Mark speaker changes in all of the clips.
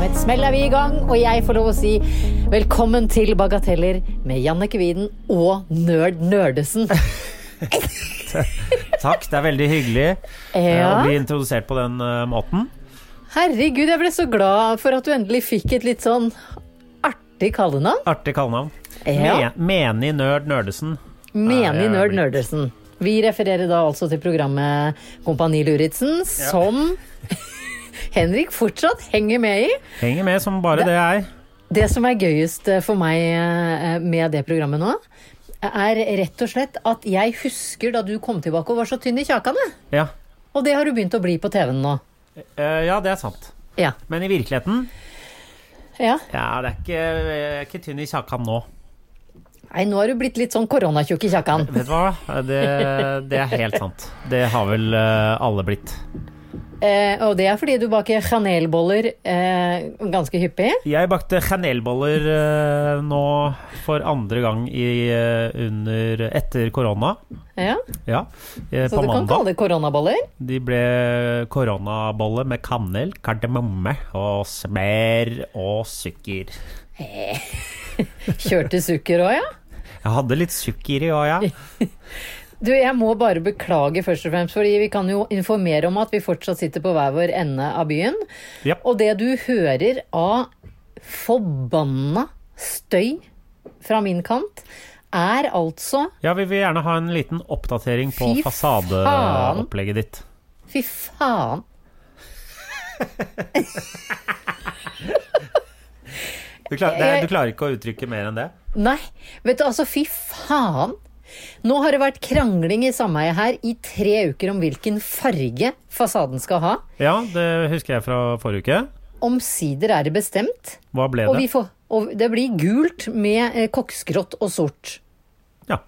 Speaker 1: Med et smell er vi i gang, og jeg får lov å si velkommen til Bagateller med Jannicke Widen og Nerd Nerdesen.
Speaker 2: Takk, det er veldig hyggelig eh,
Speaker 1: Ja.
Speaker 2: å bli introdusert på den eh, måten.
Speaker 1: Herregud, jeg ble så glad for at du endelig fikk et litt sånn artig kallenavn.
Speaker 2: Artig kallenavn.
Speaker 1: Ja.
Speaker 2: Me Menig nerd Nerdesen.
Speaker 1: Menig
Speaker 2: Ja,
Speaker 1: Nerd
Speaker 2: blitt.
Speaker 1: Nerdesen. Vi refererer da altså til programmet Kompani Luritzen, som Henrik fortsatt henger med i.
Speaker 2: Henger med som bare det jeg er.
Speaker 1: Det som er gøyest eh, for meg eh, med det programmet nå, er rett og slett at jeg husker da du kom tilbake og var så tynn i kjakene.
Speaker 2: Ja.
Speaker 1: Og det har du begynt å bli på TV-en nå.
Speaker 2: Eh, ja, det er sant.
Speaker 1: Ja.
Speaker 2: Men i virkeligheten
Speaker 1: ja.
Speaker 2: Ja, det er ikke, jeg er ikke tynn i kjakan nå.
Speaker 1: Nei, nå har du blitt litt sånn koronatjukk i kjakkan.
Speaker 2: Vet du hva? Det, det er helt sant. Det har vel eh, alle blitt.
Speaker 1: Eh, og det er fordi du baker kanelboller eh, ganske hyppig.
Speaker 2: Jeg bakte kanelboller eh, nå for andre gang i, eh, under, etter korona.
Speaker 1: Ja.
Speaker 2: Ja, eh,
Speaker 1: Så
Speaker 2: på
Speaker 1: du kan
Speaker 2: mandag.
Speaker 1: kalle det koronaboller.
Speaker 2: De ble koronabolle med kanel, kardemomme og smør og sukker.
Speaker 1: Kjørte sukker òg, ja.
Speaker 2: Jeg hadde litt sukker i òg, ja.
Speaker 1: Du, jeg må bare beklage først og fremst, fordi vi kan jo informere om at vi fortsatt sitter på hver vår ende av byen.
Speaker 2: Ja.
Speaker 1: Og det du hører av forbanna støy fra min kant, er altså
Speaker 2: ja. Vi vil gjerne ha en liten oppdatering på
Speaker 1: Fy faen.
Speaker 2: fasadeopplegget ditt.
Speaker 1: Fy faen.
Speaker 2: Du, klar, det, er- du klarer ikke å uttrykke mer enn det?
Speaker 1: Nei, vet du, altså fy faen. Nå har det vært krangling i sameiet her i tre uker om hvilken farge fasaden skal ha.
Speaker 2: Ja, det husker jeg fra forrige uke.
Speaker 1: Omsider er det bestemt,
Speaker 2: Hva ble
Speaker 1: og, vi
Speaker 2: det?
Speaker 1: får, og det blir gult med eh, koksgrått og sort.
Speaker 2: Ja.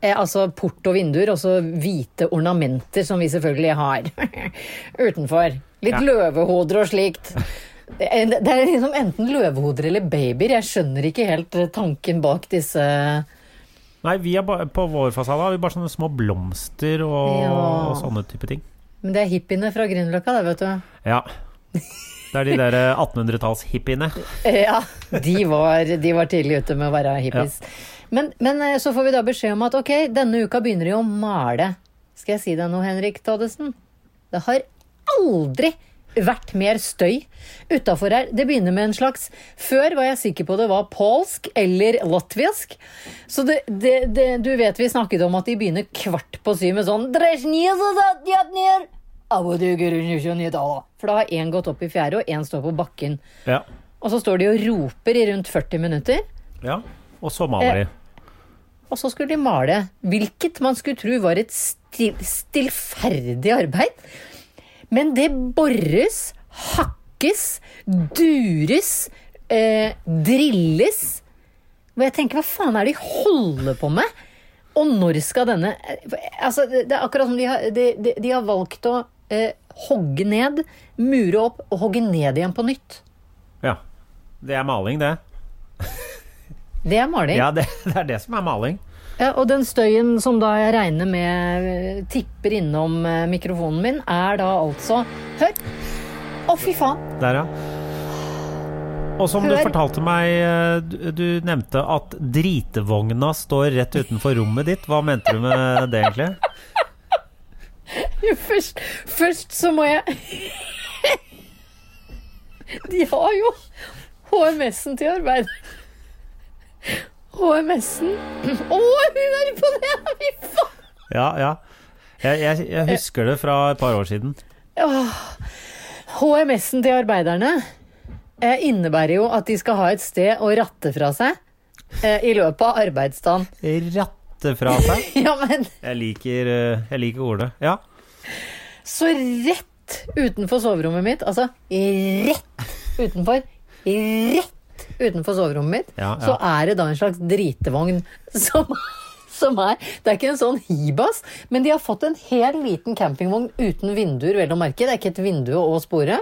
Speaker 1: Eh, altså port og vinduer, og så hvite ornamenter som vi selvfølgelig har utenfor. Litt
Speaker 2: Ja.
Speaker 1: løvehoder og slikt. Det er det er liksom enten løvehoder eller babyer. Jeg skjønner ikke helt eh, tanken bak disse
Speaker 2: Nei, vi er ba, på vår fasade har vi bare sånne små blomster og,
Speaker 1: Ja.
Speaker 2: og sånne type ting.
Speaker 1: Men det er hippiene fra Grünerløkka, det, vet du.
Speaker 2: Ja. Det er de der eh, 1800-tallshippiene.
Speaker 1: Ja, de var, de var tidlig ute med å være hippies. Men, men eh, så får vi da beskjed om at ok, denne uka begynner de å male. Skal jeg si deg noe, Henrik Thodesen? Det har aldri vært mer støy utafor her. Det begynner med en slags Før var jeg sikker på det var polsk eller latvisk. Så det, det, det, du vet vi snakket om at de begynner kvart på syv med sånn For da har én gått opp i fjerde, og én står på bakken.
Speaker 2: Ja.
Speaker 1: Og så står de og roper i rundt 40 minutter.
Speaker 2: ja. Og så
Speaker 1: Eh,
Speaker 2: maler de.
Speaker 1: Og så skulle de male, hvilket man skulle tro var et stil, stillferdig arbeid. Men det bores, hakkes, dures, eh, drilles. Og jeg tenker, hva faen er det de holder på med? Og når skal denne Altså, det det er akkurat som de har, de, de, de har valgt å eh, hogge ned, mure opp og hogge ned igjen på nytt.
Speaker 2: Ja. Det er maling, det.
Speaker 1: Det er maling.
Speaker 2: Ja, det, det er det som er maling.
Speaker 1: Ja, og den støyen som da jeg regner med eh, tipper innom eh, mikrofonen min, er da altså Hør! Å, fy faen!
Speaker 2: Der, ja. Og som du
Speaker 1: Hør.
Speaker 2: fortalte meg, eh, du- du nevnte at dritevogna står rett utenfor rommet ditt. Hva mente du med det, egentlig?
Speaker 1: Jo, Først, først så må jeg De har jo HMS-en til arbeid. HMS-en. Å, hun er på det! Fy faen!
Speaker 2: Ja, ja. Jeg, jeg, jeg husker det fra et par år siden.
Speaker 1: HMS-en til arbeiderne eh, innebærer jo at de skal ha et sted å ratte fra seg. eh, i løpet av arbeidsdagen.
Speaker 2: Ratte fra seg.
Speaker 1: Ja, men
Speaker 2: Jeg liker, eh, jeg liker ordet. Ja.
Speaker 1: så rett utenfor soverommet mitt, altså rett utenfor, rett utenfor soverommet mitt,
Speaker 2: Ja, ja.
Speaker 1: så er det da en slags dritevogn som, som er Det er ikke en sånn hibas, men de har fått en hel liten campingvogn uten vinduer, vel å merke. Det er ikke et vindu å spore.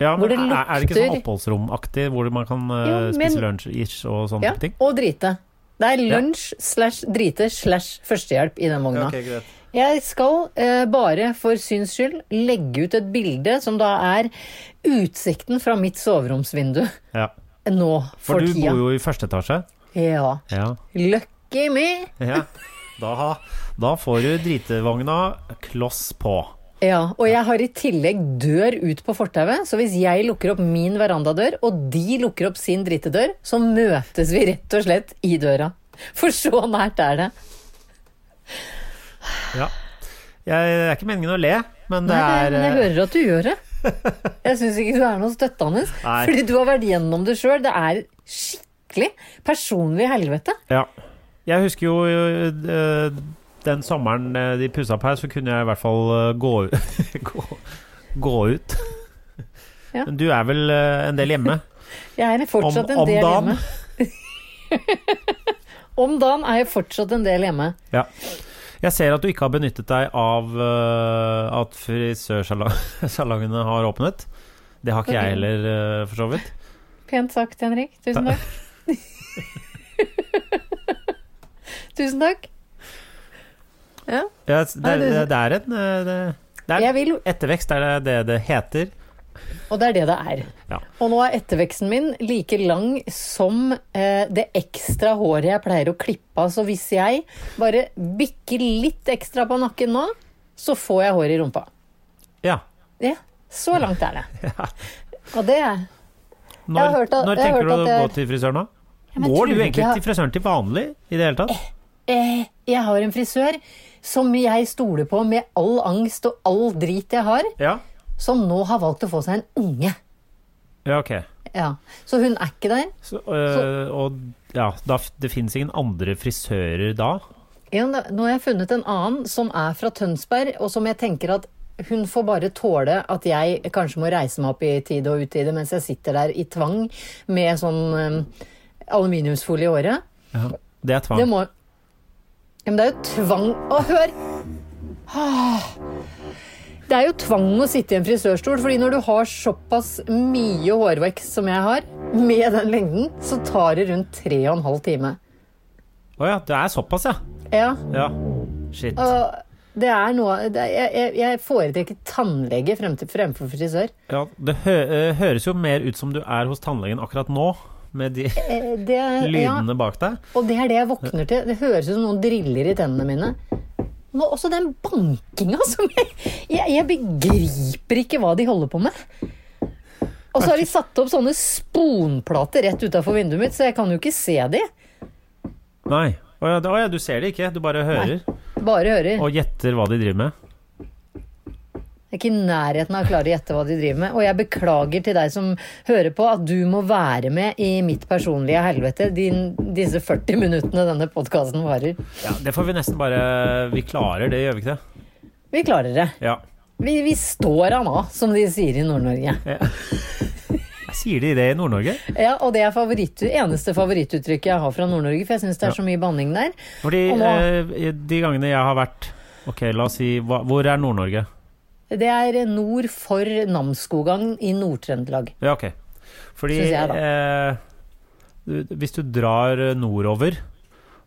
Speaker 2: ja
Speaker 1: Hvor
Speaker 2: men
Speaker 1: det
Speaker 2: er, er det ikke sånn
Speaker 1: lukter-
Speaker 2: oppholdsromaktig, hvor man kan eh,
Speaker 1: Jo, men-
Speaker 2: spise lunsj-ish og sånne
Speaker 1: Ja,
Speaker 2: ting?
Speaker 1: og drite. Det er lunsj slash drite slash førstehjelp i den vogna.
Speaker 2: greit.
Speaker 1: Jeg skal eh, bare for syns skyld legge ut et bilde som da er utsikten fra mitt soveromsvindu
Speaker 2: Ja.
Speaker 1: nå for,
Speaker 2: For du
Speaker 1: tida.
Speaker 2: bor jo i første etasje.
Speaker 1: Ja.
Speaker 2: Ja.
Speaker 1: Lucky me!
Speaker 2: ja. Da, ha- da får du dritevogna kloss på.
Speaker 1: Ja, og jeg har i tillegg dør ut på fortauet, så hvis jeg lukker opp min verandadør, og de lukker opp sin drittedør, så møtes vi rett og slett i døra. For så nært er det.
Speaker 2: Ja. Jeg, det er ikke meningen å le, men det
Speaker 1: Nei,
Speaker 2: er
Speaker 1: men jeg
Speaker 2: eh,
Speaker 1: hører at du gjør det. Jeg syns ikke du er noe støttende.
Speaker 2: Nei.
Speaker 1: Fordi du har vært gjennom det sjøl. Det er skikkelig personlig helvete.
Speaker 2: Ja. Jeg husker jo eh, den sommeren eh, de pussa opp her, så kunne jeg i hvert fall eh, gå, u- gå, gå ut.
Speaker 1: Ja.
Speaker 2: Men du er vel eh, en del hjemme?
Speaker 1: Jeg er fortsatt en del hjemme. Om dagen er jeg fortsatt en del hjemme.
Speaker 2: Ja. Jeg ser at du ikke har benyttet deg av eh, at frisørsalongene har åpnet. Det har ikke jeg heller, eh, for så vidt.
Speaker 1: Pent sagt, Henrik. Tusen takk. Tusen takk. Ja.
Speaker 2: Jeg, det,
Speaker 1: Nei,
Speaker 2: det,
Speaker 1: det-
Speaker 2: det er en eh, det, det
Speaker 1: Jeg
Speaker 2: er
Speaker 1: vil,
Speaker 2: Ettervekst er det det det heter.
Speaker 1: og det er det det er.
Speaker 2: Ja.
Speaker 1: Og nå er etterveksten min like lang som eh, det ekstra håret jeg pleier å klippe av. Så hvis jeg bare bikker litt ekstra på nakken nå, så får jeg hår i rumpa.
Speaker 2: Ja.
Speaker 1: Ja, så langt er det. Og det er
Speaker 2: Når,
Speaker 1: har hørt at-
Speaker 2: når
Speaker 1: jeg har hørt
Speaker 2: tenker du å
Speaker 1: at jeg-
Speaker 2: gå til frisøren, da?
Speaker 1: men tror
Speaker 2: Går du
Speaker 1: du ikke
Speaker 2: egentlig
Speaker 1: jeg-
Speaker 2: til frisøren til vanlig i det hele tatt?
Speaker 1: eh, Jeg har en frisør som jeg stoler på med all angst og all drit jeg har,
Speaker 2: Ja.
Speaker 1: som nå har valgt å få seg en unge.
Speaker 2: Ja, ok.
Speaker 1: Ja. Så hun er ikke der.
Speaker 2: Så, øh, og ja, da, f- det fins ingen andre frisører da?
Speaker 1: Ja, da- nå har jeg funnet en annen som er fra Tønsberg, og som jeg tenker at hun får bare tåle at jeg kanskje må reise meg opp i tide og utide mens jeg sitter der i tvang med sånn eh, aluminiumsfolie i håret.
Speaker 2: Ja. Det er tvang.
Speaker 1: Det må Ja, Men det er jo tvang Å, hør! Ah. Det er jo tvang å sitte i en frisørstol, fordi når du har såpass mye hårvekst som jeg har, med den lengden, så tar det rundt tre og en halv time.
Speaker 2: Å ja, det er såpass, ja.
Speaker 1: Ja,
Speaker 2: ja. Shit.
Speaker 1: Øh. og det er noe det er, jeg- jeg, jeg foretrekker tannlege frem til, fremfor frisør.
Speaker 2: Ja, det hø øh, høres jo mer ut som du er hos tannlegen akkurat nå, med de
Speaker 1: Eh, Det, ja,
Speaker 2: lydene bak deg.
Speaker 1: og det er det jeg våkner til. Det høres ut som noen driller i tennene mine. Men også den bankinga som jeg, jeg Jeg begriper ikke hva de holder på med. Og så har de satt opp sånne sponplater rett utafor vinduet mitt, så jeg kan jo ikke se de.
Speaker 2: Nei. Å ja, det- å ja, du ser det ikke. Du bare hører
Speaker 1: Bare hører.
Speaker 2: og gjetter hva de driver med.
Speaker 1: Jeg er ikke i nærheten av å klare å gjette hva de driver med. Og jeg beklager til deg som hører på, at du må være med i mitt personlige helvete din, disse 40 minuttene denne podkasten varer.
Speaker 2: Ja, det får vi nesten bare Vi klarer det, gjør vi ikke det?
Speaker 1: Vi klarer det.
Speaker 2: Ja.
Speaker 1: Vi, vi står an nå, som de sier i Nord-Norge.
Speaker 2: Sier de det i Nord-Norge?
Speaker 1: Ja, og det er favoritt, eneste favorittuttrykket jeg har fra Nord-Norge, for jeg syns det er så mye banning der.
Speaker 2: Fordi
Speaker 1: Og
Speaker 2: eh, de gangene jeg har vært Ok, la oss si hva, Hvor er Nord-Norge?
Speaker 1: Det er nord for Namsskogan i Nord-Trøndelag.
Speaker 2: Ja, ok. Fordi
Speaker 1: Synes jeg, da.
Speaker 2: eh, du- hvis du drar eh, nordover,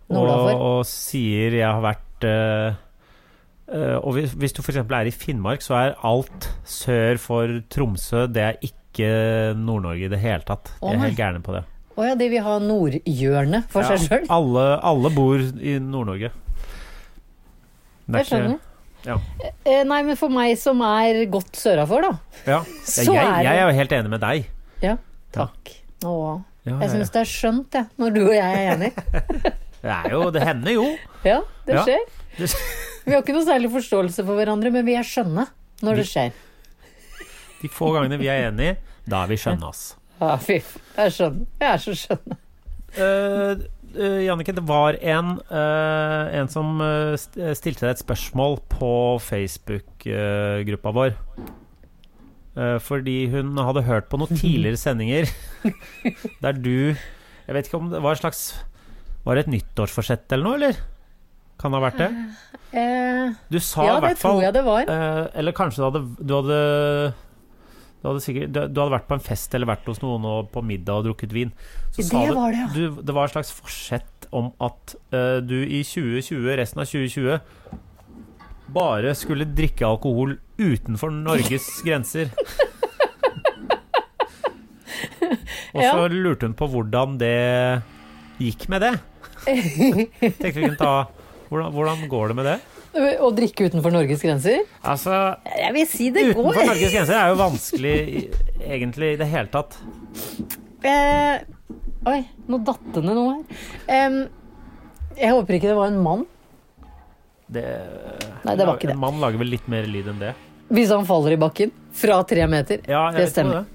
Speaker 1: Nordover.
Speaker 2: Og, og sier 'jeg har vært' eh, eh, Og hvis, hvis du f.eks. er i Finnmark, så er alt sør for Tromsø Det er ikke Nord-Norge i det hele tatt. De
Speaker 1: Å,
Speaker 2: er
Speaker 1: nei.
Speaker 2: helt gærne på det.
Speaker 1: Å ja, de vil ha nordhjørnet for seg sjøl.
Speaker 2: alle, alle bor i Nord-Norge. Det er
Speaker 1: Jeg skjønner.
Speaker 2: ikke- ja.
Speaker 1: Eh, nei, men for meg som er godt sørafor, da.
Speaker 2: Ja.
Speaker 1: Så
Speaker 2: jeg,
Speaker 1: er det-
Speaker 2: jeg er jo helt enig med deg.
Speaker 1: Ja, takk. Å,
Speaker 2: Ja,
Speaker 1: jeg
Speaker 2: ja, ja.
Speaker 1: syns det er skjønt, jeg, når du og jeg er enige.
Speaker 2: Det er jo Det hender jo.
Speaker 1: Ja, det
Speaker 2: Ja.
Speaker 1: skjer.
Speaker 2: Det skjer.
Speaker 1: Vi har ikke noe særlig forståelse for hverandre, men vi er skjønne når det skjer.
Speaker 2: De
Speaker 1: Ah,
Speaker 2: få gangene vi er enige, da er vi skjønne, ass.
Speaker 1: Ja, fy f- Jeg er skjønn. Jeg er så skjønn.
Speaker 2: eh, eh, Jannicke, det var en, eh, en som eh, st- stilte deg et spørsmål på Facebook-gruppa vår. Eh, fordi hun hadde hørt på noen tidligere sendinger der du Jeg vet ikke om det var et slags Var det et nyttårsforsett eller noe, eller? Kan det ha vært det?
Speaker 1: Eh,
Speaker 2: Du sa
Speaker 1: ja,
Speaker 2: i
Speaker 1: det
Speaker 2: hvert fall
Speaker 1: tror jeg det var.
Speaker 2: Eh, eller kanskje du hadde Du hadde, du hadde, sikkert, du, du hadde vært på en fest eller vært hos noen og på middag og drukket vin.
Speaker 1: Det var det, ja.
Speaker 2: du, det var et slags forsett om at eh, du i 2020, resten av 2020, bare skulle drikke alkohol utenfor Norges grenser. og så
Speaker 1: Ja.
Speaker 2: lurte hun på hvordan det gikk med det. Tenkte vi kunne ta hvordan, hvordan går det med det?
Speaker 1: Å drikke utenfor Norges grenser?
Speaker 2: Altså,
Speaker 1: Jeg vil si det
Speaker 2: Utenfor
Speaker 1: går.
Speaker 2: Norges grenser er jo vanskelig i- egentlig i det hele tatt.
Speaker 1: Eh, oi, nå datt det ned noe her. Em, jeg håper ikke det var en mann.
Speaker 2: Det,
Speaker 1: Nei, det var ikke
Speaker 2: En
Speaker 1: det.
Speaker 2: mann lager vel litt mer lyd enn det.
Speaker 1: Hvis han faller i bakken fra tre meter.
Speaker 2: Ja, jeg
Speaker 1: det
Speaker 2: vet ikke
Speaker 1: stemmer.
Speaker 2: om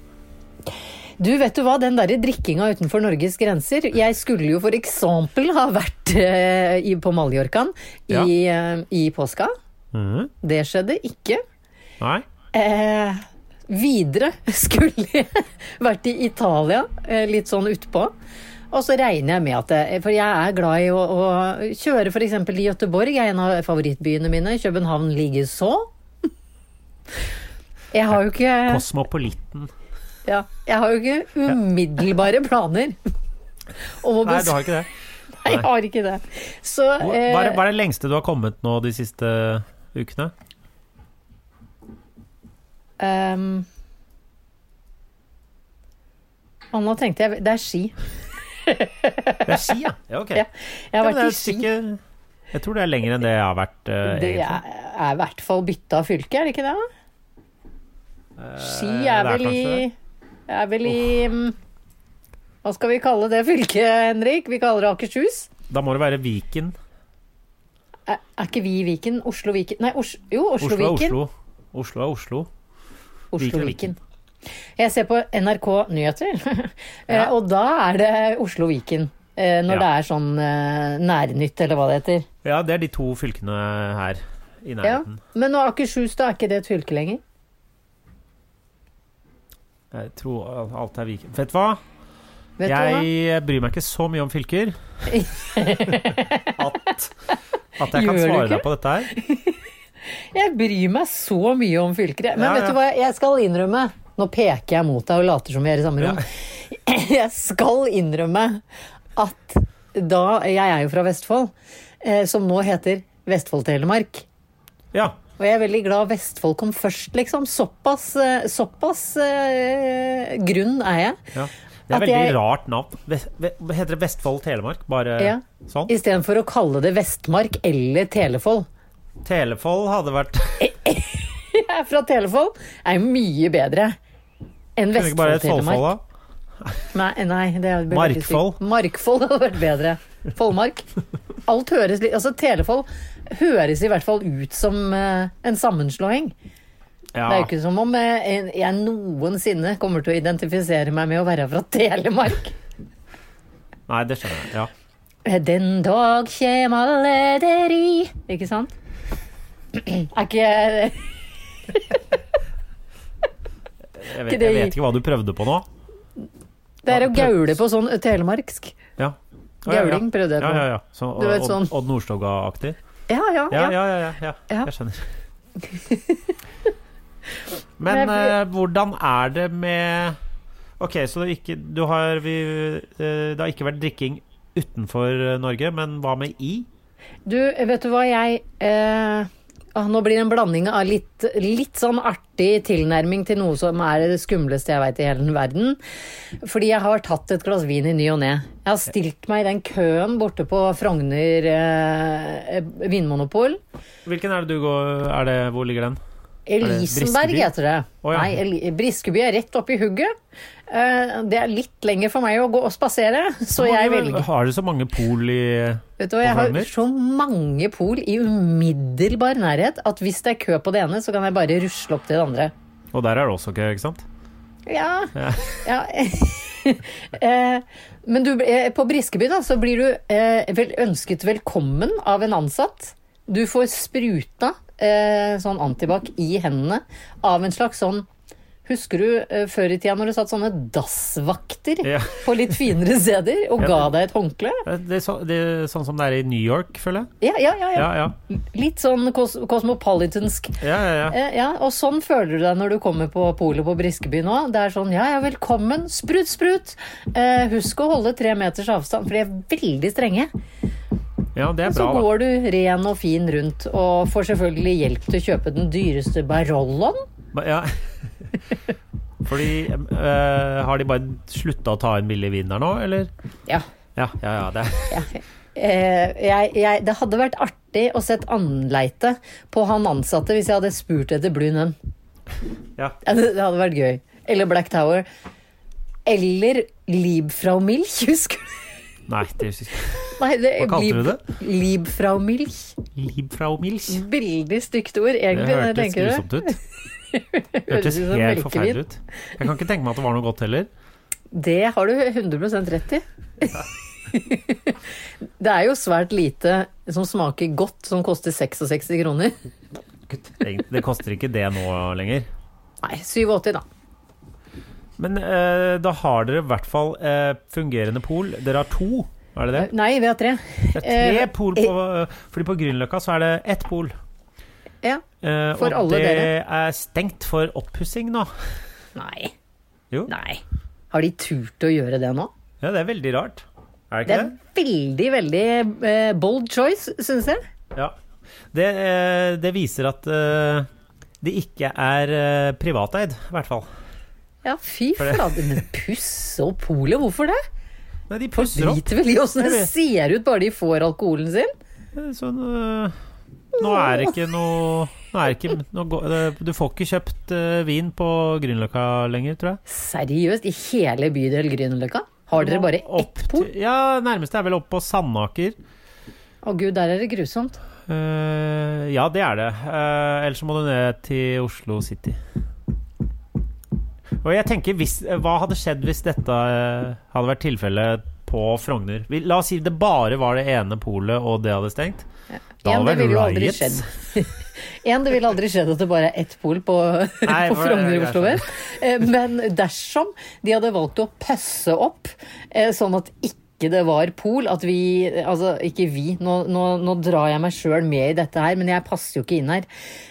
Speaker 1: Du, vet du hva, den derre drikkinga utenfor Norges grenser Jeg skulle jo for eksempel ha vært eh, i, på Mallorcaen
Speaker 2: Ja.
Speaker 1: i, eh, i påska. Mm.
Speaker 2: Mhm.
Speaker 1: Det skjedde ikke.
Speaker 2: Nei.
Speaker 1: Eh, videre skulle jeg vært i Italia, eh, litt sånn utpå. Og så regner jeg med at det, For jeg er glad i å, å kjøre f.eks. i Gøteborg, er en av favorittbyene mine. København ligeså. Jeg har jo ikke
Speaker 2: Kosmopolitten.
Speaker 1: ja, jeg har jo ikke umiddelbare planer om å
Speaker 2: Nei,
Speaker 1: besøke
Speaker 2: du har ikke det.
Speaker 1: Nei, jeg har ikke det. Så
Speaker 2: Hvor-
Speaker 1: eh,
Speaker 2: Hva er, hva er det lengste du har kommet nå de siste ukene?
Speaker 1: ehm, Å, nå tenkte jeg Det er ski.
Speaker 2: Det er ski, ja. ja ok.
Speaker 1: Ja, jeg har
Speaker 2: Ja, men det
Speaker 1: vært
Speaker 2: er
Speaker 1: i ski.
Speaker 2: sikkert- Jeg tror det er lenger enn det jeg har vært. eh,
Speaker 1: Det
Speaker 2: egentlig.
Speaker 1: er, er i hvert fall bytte av fylke, er det ikke det? da? Ski
Speaker 2: Eh, det
Speaker 1: er
Speaker 2: er
Speaker 1: vel i
Speaker 2: kanskje det.
Speaker 1: Er vel i mm, Hva skal vi kalle det fylket, Henrik? Vi kaller det Akershus.
Speaker 2: Da må det være Viken.
Speaker 1: Er, er ikke vi i Viken? Oslo-Viken? Nei, Os jo,
Speaker 2: Oslo er
Speaker 1: Oslo-Viken.
Speaker 2: Oslo. Oslo er Oslo. Viken er
Speaker 1: Oslo-Viken. Jeg ser på NRK Nyheter, eh,
Speaker 2: Ja.
Speaker 1: og da er det Oslo-Viken. eh, Når
Speaker 2: Ja.
Speaker 1: det er sånn eh, nærnytt, eller hva det heter.
Speaker 2: Ja, det er de to fylkene her i
Speaker 1: Ja.
Speaker 2: nærheten.
Speaker 1: Men nå Akershus, da er ikke det et fylke lenger?
Speaker 2: Jeg tror alt er Viken. Vet du hva?
Speaker 1: Vet du hva?
Speaker 2: Jeg bryr meg ikke så mye om fylker. At, at jeg kan
Speaker 1: Gjør du
Speaker 2: svare
Speaker 1: ikke?
Speaker 2: deg på dette her.
Speaker 1: Jeg bryr meg så mye om fylker, jeg. Men
Speaker 2: Ja,
Speaker 1: vet
Speaker 2: ja.
Speaker 1: du hva, jeg skal innrømme Nå peker jeg mot deg og later som vi er i samme rom. Jeg skal innrømme at da Jeg er jo fra Vestfold, eh, som nå heter Vestfold-Telemark.
Speaker 2: Ja.
Speaker 1: Og jeg er veldig glad Vestfold kom først, liksom. Såpass, eh, såpass eh, grunn er jeg.
Speaker 2: ja. Det er
Speaker 1: At
Speaker 2: veldig
Speaker 1: jeg-
Speaker 2: rart navn. Ves- ve- Hva heter det Vestfold Telemark? Bare
Speaker 1: Ja.
Speaker 2: sånn?
Speaker 1: Istedenfor å kalle det Vestmark eller Telefold.
Speaker 2: Telefold hadde vært Kunne
Speaker 1: Jeg er fra Telefold, er mye bedre enn
Speaker 2: det ikke bare hett Foldfold,
Speaker 1: Vestfold-Telemark.
Speaker 2: da?
Speaker 1: Nei, nei, det hadde blitt veldig
Speaker 2: Markfold.
Speaker 1: stygt. Markfold hadde vært bedre. Follmark. Alt høres litt Altså, Telefold høres i hvert fall ut som eh, en sammenslåing. Det er jo
Speaker 2: Ja.
Speaker 1: ikke som om eh, en- jeg noensinne kommer til å identifisere meg med å være fra Telemark.
Speaker 2: Nei, det skjønner jeg. Ja.
Speaker 1: Den dag kjem alle deri Ikke sant? Er ikke
Speaker 2: Jeg
Speaker 1: Ikke
Speaker 2: vet,
Speaker 1: det-
Speaker 2: jeg vet ikke hva du prøvde på nå.
Speaker 1: Det er å gaule på sånn telemarksk.
Speaker 2: Ja. Å, ja,
Speaker 1: Gauling prøvde jeg
Speaker 2: Ja,
Speaker 1: på.
Speaker 2: ja, ja. ja. Sånn,
Speaker 1: Du vet,
Speaker 2: Odd-
Speaker 1: sånn.
Speaker 2: Odd Nordstoga-aktig.
Speaker 1: Ja, ja. ja.
Speaker 2: Ja, ja, ja. ja, ja.
Speaker 1: Ja.
Speaker 2: Jeg skjønner.
Speaker 1: Men
Speaker 2: Men
Speaker 1: jeg-
Speaker 2: eh, hvordan er det med Ok, så det, er ikke, du har, vi, eh, det har ikke vært drikking utenfor eh, Norge, men hva med i?
Speaker 1: Du, vet du hva jeg eh, ah, Nå blir det en blanding av litt, litt sånn artig tilnærming til noe som er det skumleste jeg veit i hele verden. Fordi jeg har tatt et glass vin i ny og ne. Jeg har stilt meg i den køen borte på Frogner eh, vinmonopol.
Speaker 2: Hvilken er det du går Er det, Hvor ligger den? det
Speaker 1: Elisenberg
Speaker 2: Briskeby?
Speaker 1: heter det.
Speaker 2: Å, ja.
Speaker 1: Nei, Eli Briskeby er rett oppi hugget. Eh, det er litt lenger for meg å gå og spasere, så
Speaker 2: Hvor
Speaker 1: jeg
Speaker 2: mange-
Speaker 1: velger
Speaker 2: Har du så mange pol i
Speaker 1: Vet du hva, Jeg
Speaker 2: På
Speaker 1: har
Speaker 2: Frogner?
Speaker 1: så mange pol i umiddelbar nærhet at hvis det er kø på det ene, så kan jeg bare rusle opp til det andre.
Speaker 2: Og der er det også kø, ikke sant?
Speaker 1: Ja,
Speaker 2: Ja.
Speaker 1: ja. eh, Men du, eh, på Briskeby da, så blir du eh, vel ønsket velkommen av en ansatt. Du får spruta eh, sånn antibac i hendene av en slags sånn Husker du eh, før i tida når det satt sånne dassvakter
Speaker 2: Ja.
Speaker 1: på litt finere steder og ga
Speaker 2: Ja.
Speaker 1: deg et håndkle?
Speaker 2: Eh, Det, det, er så, det er sånn som det er i New York, føler jeg.
Speaker 1: Ja, ja, ja. ja.
Speaker 2: Ja, ja.
Speaker 1: Litt sånn kos kosmopolitansk.
Speaker 2: ja, ja, ja.
Speaker 1: Eh, ja, og sånn føler du deg når du kommer på polet på Briskeby nå. Det er sånn ja, ja, velkommen, sprut, sprut. Eh, husk å holde tre meters avstand, for de er veldig strenge.
Speaker 2: ja det er
Speaker 1: Så
Speaker 2: bra, da.
Speaker 1: går du ren og fin rundt, og får selvfølgelig hjelp til å kjøpe den dyreste Barolloen.
Speaker 2: Ba- Ja. Fordi eh, Har de bare slutta å ta inn billig vin der nå, eller?
Speaker 1: Ja.
Speaker 2: Ja, ja, ja. Det er.
Speaker 1: Eh, jeg, jeg, det hadde vært artig å sett anleite på han ansatte hvis jeg hadde spurt etter Blue Nun.
Speaker 2: Ja.
Speaker 1: Ja, Det, det hadde vært gøy. Eller Black Tower. Eller Liebfrau Milch, husker du?
Speaker 2: Nei, det husker jeg ikke.
Speaker 1: Nei, det,
Speaker 2: Hva kalte du det?
Speaker 1: Liebfrau Milch.
Speaker 2: Liebfraumilch.
Speaker 1: Veldig stygt ord,
Speaker 2: Det
Speaker 1: egentlig. når jeg
Speaker 2: hørtes
Speaker 1: tenker det.
Speaker 2: grusomt ut. Det
Speaker 1: Høres ut
Speaker 2: hørtes
Speaker 1: som
Speaker 2: helt
Speaker 1: melkevin.
Speaker 2: forferdelig ut. Jeg kan ikke tenke meg at det var noe godt heller.
Speaker 1: Det har du 100 rett i. det er jo svært lite som smaker godt, som koster 66 kroner.
Speaker 2: Egentlig, Det koster ikke det nå lenger.
Speaker 1: Nei, 87, da.
Speaker 2: Men eh, da har dere i hvert fall eh, fungerende pol. Dere har to, er det det?
Speaker 1: Nei, vi har tre.
Speaker 2: Det er
Speaker 1: Eh,
Speaker 2: tre pol på Fordi på Grünerløkka så er det ett pol.
Speaker 1: Ja.
Speaker 2: Eh,
Speaker 1: For
Speaker 2: og
Speaker 1: alle
Speaker 2: det
Speaker 1: dere.
Speaker 2: er stengt for oppussing nå.
Speaker 1: Nei.
Speaker 2: Jo.
Speaker 1: Nei. Har de turt å gjøre det nå?
Speaker 2: Ja, det er veldig rart. Er det
Speaker 1: Det
Speaker 2: ikke
Speaker 1: er
Speaker 2: det?
Speaker 1: veldig, veldig eh, bold choice, syns jeg.
Speaker 2: Ja. Det, eh, det viser at eh, det ikke er eh, privateid, i hvert fall.
Speaker 1: Ja, fy
Speaker 2: det-
Speaker 1: flate. Men puss og polet, hvorfor det?
Speaker 2: Nei, de pusser opp.
Speaker 1: Driter vel i åssen det
Speaker 2: Jeg vet.
Speaker 1: ser ut bare de får alkoholen sin?
Speaker 2: Eh, Sånn eh, Nå er det ikke noe nå er det ikke, nå går, eh, Du får ikke kjøpt eh, vin på Grünerløkka lenger, tror jeg.
Speaker 1: Seriøst, i hele bydel Grünerløkka? Har dere bare ett
Speaker 2: Opp
Speaker 1: pol?
Speaker 2: til- Ja, nærmeste er vel oppe på Sandaker.
Speaker 1: Å gud, der er det grusomt.
Speaker 2: Eh, ja, det er det. Eh, ellers så må du ned til Oslo City. Og jeg tenker, hvis, eh, Hva hadde skjedd hvis dette eh, hadde vært tilfellet på Frogner? Vi, la oss si det bare var det ene polet, og det hadde stengt.
Speaker 1: Igjen,
Speaker 2: Da hadde
Speaker 1: det
Speaker 2: det
Speaker 1: ville jo
Speaker 2: vært
Speaker 1: aldri
Speaker 2: riots.
Speaker 1: skjedd. Én, det ville aldri skjedd at det bare er ett pol på,
Speaker 2: Nei,
Speaker 1: på
Speaker 2: for-
Speaker 1: Frogner i
Speaker 2: jeg
Speaker 1: Oslo vest. Eh, Men dersom de hadde valgt å pøsse opp eh, sånn at ikke det var pol, at vi Altså, ikke vi, nå, nå, nå drar jeg meg sjøl med i dette her, men jeg passer jo ikke inn her.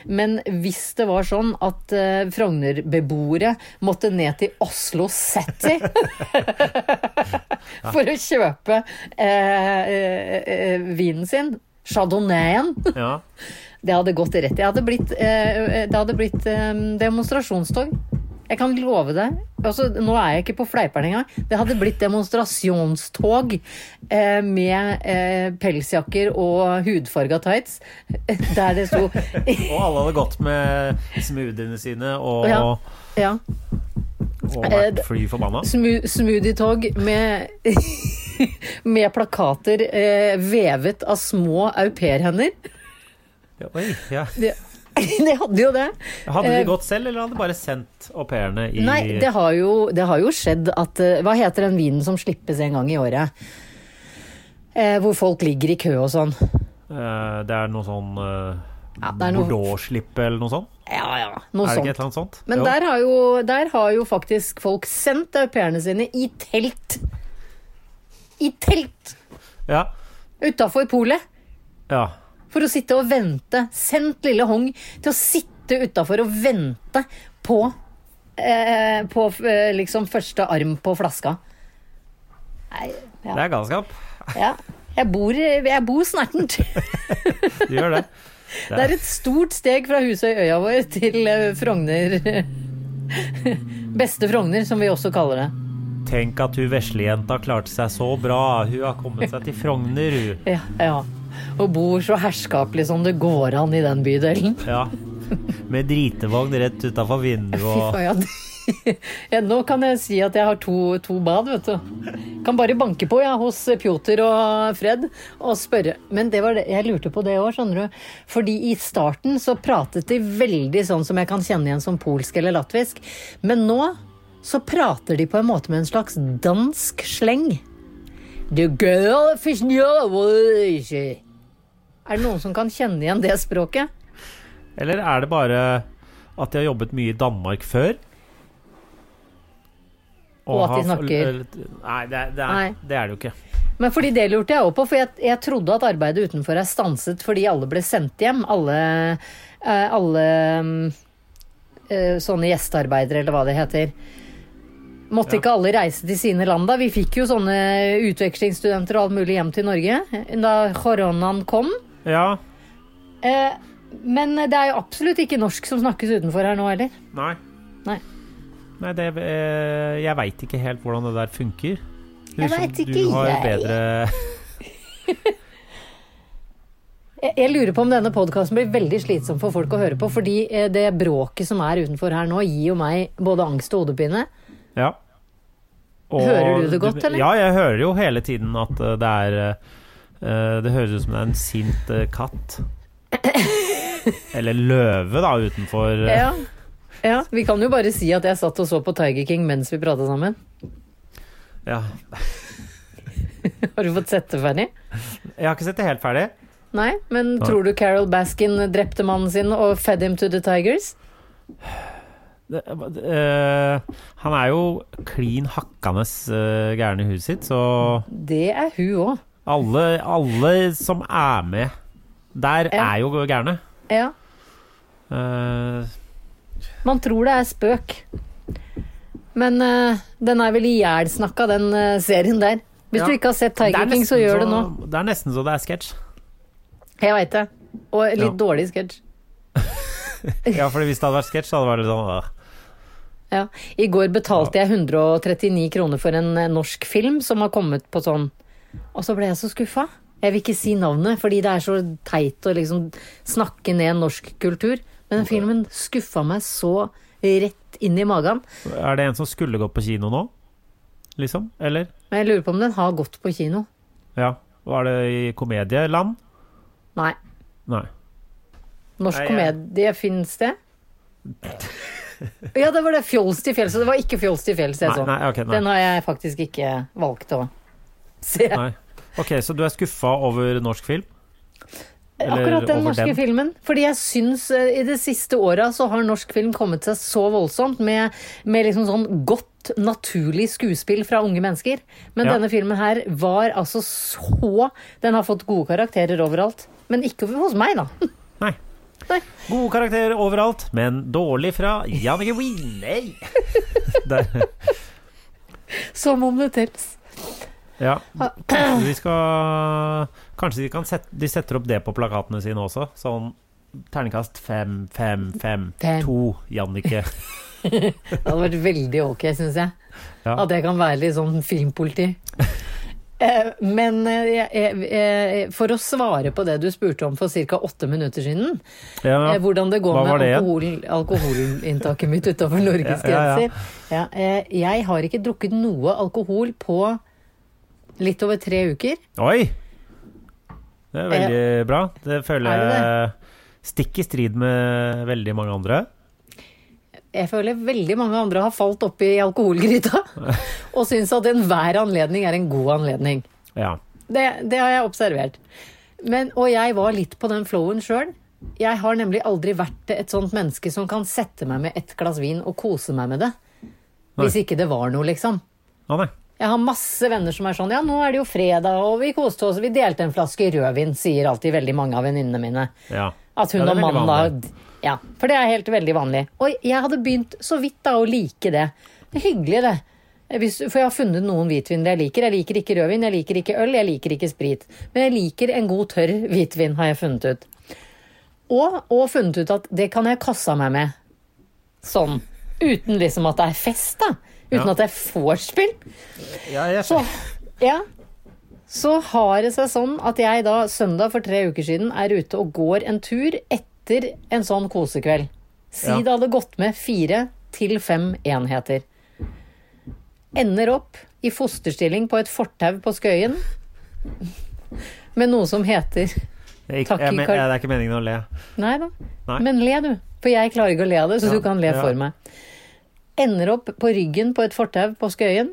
Speaker 1: Men hvis det var sånn at eh, Frogner-beboere måtte ned til Oslo City for å kjøpe eh, eh, eh, vinen sin, chardonnayen
Speaker 2: Ja.
Speaker 1: det hadde gått rett. Det hadde blitt, eh, det hadde blitt eh, demonstrasjonstog. Jeg kan love deg. Altså, nå er jeg ikke på fleiperen engang. Det hadde blitt demonstrasjonstog eh, med eh, pelsjakker og hudfarga tights. Der det sto
Speaker 2: Og alle hadde gått med smoothiene sine og,
Speaker 1: Ja. ja,
Speaker 2: og
Speaker 1: Eh,
Speaker 2: vært
Speaker 1: det-
Speaker 2: fly forbanna.
Speaker 1: smu, smoothie-tog med, med plakater eh, vevet av små au pair-hender.
Speaker 2: Ja, Oi, ja.
Speaker 1: Det, det hadde jo det.
Speaker 2: Hadde de
Speaker 1: Eh,
Speaker 2: gått selv, eller hadde de bare sendt au pairene i
Speaker 1: Nei, det har, jo, det har jo skjedd at eh, Hva heter den vinen som slippes en gang i året? Eh, hvor folk ligger i kø og sånn.
Speaker 2: Eh, Det er noe sånn eh,
Speaker 1: Ja, det er noe-
Speaker 2: Bordeaux-slippe eller noe sånt?
Speaker 1: Ja, ja, noe
Speaker 2: Er det ikke
Speaker 1: sånt.
Speaker 2: et eller annet sånt?
Speaker 1: Men
Speaker 2: Jo.
Speaker 1: der har, jo, der har jo faktisk folk sendt au pairene sine i telt. I telt
Speaker 2: Ja.
Speaker 1: utafor polet!
Speaker 2: ja.
Speaker 1: For å sitte og vente. Sendt lille Hong til å sitte utafor og vente på, eh, på eh, liksom første arm på flaska. Nei, ja.
Speaker 2: Det er galskap.
Speaker 1: Ja. Jeg bor, jeg bor snertent.
Speaker 2: Du gjør det.
Speaker 1: Det er et stort steg fra Husøyøya vår til eh, Frogner. Beste Frogner, som vi også kaller det.
Speaker 2: Tenk at hun veslejenta klarte seg så bra. Hun har kommet seg til Frogner, hun.
Speaker 1: Ja, ja. Og bor så herskapelig som det går an i den bydelen.
Speaker 2: Ja. Med dritevogn rett utafor vinduet
Speaker 1: Fy
Speaker 2: og
Speaker 1: faen. ja. Ja, nå kan jeg si at jeg har to, to bad, vet du. Kan bare banke på, ja, hos Pjoter og Fred og spørre. Men det var det jeg lurte på det òg, skjønner du. Fordi i starten så pratet de veldig sånn som jeg kan kjenne igjen som polsk eller latvisk. Men nå så prater de på en måte med en slags dansk sleng. The girl fish knows. Er det noen som kan kjenne igjen det språket?
Speaker 2: Eller er det bare at de har jobbet mye i Danmark før?
Speaker 1: Og at de
Speaker 2: har-
Speaker 1: snakker-
Speaker 2: eller- Nei, det er det, er,
Speaker 1: Nei.
Speaker 2: det er det jo ikke.
Speaker 1: Men fordi det lurte jeg òg på, for jeg, jeg trodde at arbeidet utenfor er stanset fordi alle ble sendt hjem. Alle, eh, alle mm, eh, sånne gjestearbeidere, eller hva det heter. Måtte
Speaker 2: Ja.
Speaker 1: ikke alle reise til sine land da? Vi fikk jo sånne utvekslingsstudenter og alt mulig hjem til Norge eh, da koronaen kom.
Speaker 2: Ja.
Speaker 1: Eh, men det er jo absolutt ikke norsk som snakkes utenfor her nå heller.
Speaker 2: Nei.
Speaker 1: Nei.
Speaker 2: Nei det, eh, jeg veit ikke helt hvordan det der funker. Du
Speaker 1: Jeg
Speaker 2: som-
Speaker 1: vet ikke,
Speaker 2: du har
Speaker 1: jeg.
Speaker 2: bedre
Speaker 1: Jeg, jeg lurer på om denne podkasten blir veldig slitsom for folk å høre på, fordi eh, det bråket som er utenfor her nå, gir jo meg både angst og hodepine.
Speaker 2: Ja. Og
Speaker 1: Hører du det godt, eller?
Speaker 2: Ja, jeg hører jo hele tiden at eh, det er eh, Det høres ut som det er en sint eh, katt. Eller løve, da, utenfor. eh.
Speaker 1: Ja. ja. Vi kan jo bare si at jeg satt og så på Tiger King mens vi prata sammen.
Speaker 2: Ja.
Speaker 1: Har du fått sett det, Fanny?
Speaker 2: Jeg har ikke sett det helt ferdig.
Speaker 1: Nei, men tror du Carol Baskin drepte mannen sin og fed him to the tigers?
Speaker 2: Det, eh, han er jo klin hakkende eh, gæren i huet sitt, så
Speaker 1: Det er hun òg.
Speaker 2: alle, alle som er med der,
Speaker 1: Ja.
Speaker 2: er jo gærne.
Speaker 1: Ja.
Speaker 2: Eh,
Speaker 1: Man tror det er spøk. Men eh, den er vel ihjelsnakka, den eh, serien der. Hvis
Speaker 2: Ja.
Speaker 1: du ikke har sett
Speaker 2: det er
Speaker 1: Tiger King, så
Speaker 2: nesten
Speaker 1: gjør det nå.
Speaker 2: Det er nesten så det er sketsj.
Speaker 1: Jeg veit det. Og litt
Speaker 2: Ja.
Speaker 1: dårlig sketsj.
Speaker 2: Ja, for hvis det hadde vært sketsj, så hadde det vært litt sånn øh.
Speaker 1: Ja. I går betalte jeg 139 kroner for en eh, norsk film som har kommet på sånn Og så ble jeg så skuffa. Jeg vil ikke si navnet, fordi det er så teit å liksom snakke ned norsk kultur. Men den filmen skuffa meg så rett inn i magen.
Speaker 2: Er det en som skulle gått på kino nå? Liksom? Eller?
Speaker 1: Men jeg lurer på om den har gått på kino.
Speaker 2: Ja. Var det i komedieland?
Speaker 1: Nei.
Speaker 2: Nei.
Speaker 1: Norsk
Speaker 2: Nei, jeg-
Speaker 1: komedie fins det? Ja, det var det. Fjols til fjells. Og det sånn. var ikke Fjols til fjells jeg
Speaker 2: Nei,
Speaker 1: så.
Speaker 2: nei, ok, nei.
Speaker 1: Den har jeg faktisk ikke valgt å se.
Speaker 2: nei. Ok, så du er skuffa over norsk film? Eller
Speaker 1: Akkurat den
Speaker 2: over
Speaker 1: norske
Speaker 2: den.
Speaker 1: filmen. Fordi jeg syns eh, i de siste åra så har norsk film kommet seg så voldsomt med, med liksom sånn godt, naturlig skuespill fra unge mennesker. Men
Speaker 2: Ja.
Speaker 1: denne filmen her var altså så Den har fått gode karakterer overalt. Men ikke hos meg, da.
Speaker 2: Nei.
Speaker 1: Nei.
Speaker 2: Gode karakterer overalt, men dårlig fra Jannicke Wieney. Der.
Speaker 1: Som om det tels.
Speaker 2: Ja. Kanskje de skal Kanskje de, kan sette, de setter opp det på plakatene sine også? Sånn terningkast fem, fem, fem,
Speaker 1: Fem.
Speaker 2: to, Jannicke.
Speaker 1: Det hadde vært veldig ok, syns jeg.
Speaker 2: Ja.
Speaker 1: At jeg kan være litt sånn filmpoliti. Eh, Men eh, jeg- jeg- jeg- for å svare på det du spurte om for ca. åtte minutter siden,
Speaker 2: Ja,
Speaker 1: Eh, Hvordan det går
Speaker 2: Hva var
Speaker 1: med
Speaker 2: det igjen?
Speaker 1: alkohol, alkoholinntaket mitt utenfor Norges
Speaker 2: Ja, ja, ja.
Speaker 1: grenser. Ja, eh, jeg har ikke drukket noe alkohol på litt over tre uker.
Speaker 2: Oi! Det er veldig bra. Det føler
Speaker 1: Er det
Speaker 2: jeg stikk i strid med veldig mange andre.
Speaker 1: Jeg føler veldig mange andre har falt oppi alkoholgryta og syns at enhver anledning er en god anledning.
Speaker 2: Ja.
Speaker 1: Det, det har jeg observert. Men, og jeg var litt på den flowen sjøl. Jeg har nemlig aldri vært et sånt menneske som kan sette meg med et glass vin og kose meg med det. Hvis ikke det var noe, liksom.
Speaker 2: Å nei.
Speaker 1: Jeg har masse venner som er sånn Ja, nå er det jo fredag, og vi koste oss. Vi delte en flaske rødvin, sier alltid veldig mange av venninnene mine.
Speaker 2: Ja.
Speaker 1: At hun og
Speaker 2: Ja, det er veldig
Speaker 1: mannen
Speaker 2: vanlig.
Speaker 1: da Ja, for det er helt veldig vanlig. Og jeg hadde begynt så vidt da å like det. Det er hyggelig, det. Hvis, for jeg har funnet noen hvitviner jeg liker. Jeg liker ikke rødvin, jeg liker ikke øl, jeg liker ikke sprit. Men jeg liker en god tørr hvitvin, har jeg funnet ut. Og, og funnet ut at det kan jeg kasse meg med. Sånn. Uten liksom at det er fest, da. Uten
Speaker 2: Ja.
Speaker 1: at jeg får spill.
Speaker 2: Ja, jeg
Speaker 1: Så, ja. Så har det seg sånn at jeg da søndag for tre uker siden er ute og går en tur etter en sånn kosekveld. Si
Speaker 2: Ja.
Speaker 1: det hadde gått med fire til fem enheter. Ender opp i fosterstilling på et fortau på Skøyen med noe som heter
Speaker 2: Det er ikke-
Speaker 1: Takk,
Speaker 2: jeg, men-
Speaker 1: Karl.
Speaker 2: jeg, det er ikke meningen å le.
Speaker 1: Nei da.
Speaker 2: Nei.
Speaker 1: Men le, du. For jeg klarer ikke å le av det, så
Speaker 2: Ja,
Speaker 1: du kan le
Speaker 2: ja.
Speaker 1: for meg. Ender opp på ryggen på et fortau på Skøyen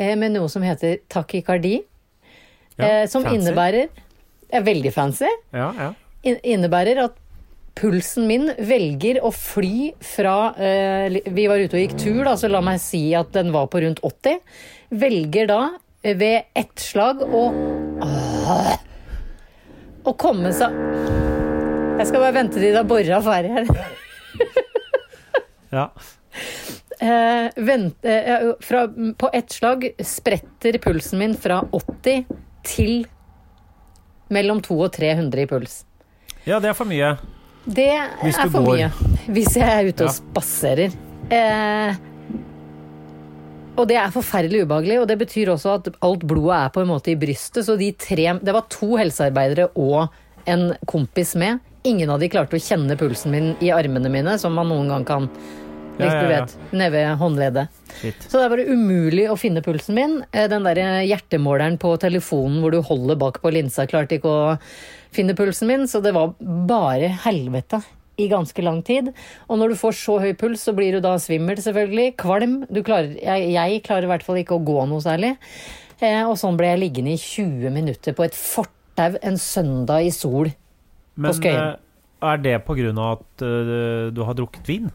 Speaker 1: eh, med noe som heter takikardi.
Speaker 2: Ja,
Speaker 1: eh, som
Speaker 2: fancy.
Speaker 1: innebærer er Veldig fancy.
Speaker 2: Ja, ja.
Speaker 1: In, innebærer at pulsen min velger å fly fra eh, li- Vi var ute og gikk tur, da, så la meg si at den var på rundt 80. Velger da eh, ved ett slag å Åh! Å komme seg Jeg skal bare vente til de har bora ferdig her.
Speaker 2: ja.
Speaker 1: Eh, vent, eh, ja, fra, på ett slag spretter pulsen min fra 80 til mellom 200 og 300 i puls.
Speaker 2: ja det er for mye.
Speaker 1: Det
Speaker 2: Hvis du
Speaker 1: er for
Speaker 2: går.
Speaker 1: mye hvis jeg er ute
Speaker 2: Ja.
Speaker 1: og spaserer. Eh, og det er forferdelig ubehagelig, og det betyr også at alt blodet er på en måte i brystet. Så de tre Det var to helsearbeidere og en kompis med. Ingen av de klarte å kjenne pulsen min i armene mine, som man noen gang kan.
Speaker 2: Ja,
Speaker 1: Hvis du
Speaker 2: ja, ja.
Speaker 1: vet. Nede ved håndleddet.
Speaker 2: Shit.
Speaker 1: Så det er bare umulig å finne pulsen min. Eh, Den der eh, hjertemåleren på telefonen hvor du holder bak på linsa, klarte ikke å finne pulsen min, så det var bare helvete i ganske lang tid. Og når du får så høy puls, så blir du da svimmel, selvfølgelig. Kvalm. Du klarer, jeg, jeg klarer i hvert fall ikke å gå noe særlig. Eh, og sånn ble jeg liggende i 20 minutter på et fortau en søndag i sol.
Speaker 2: Men
Speaker 1: Skøyen.
Speaker 2: eh, er det på grunn av at eh, du har drukket vin?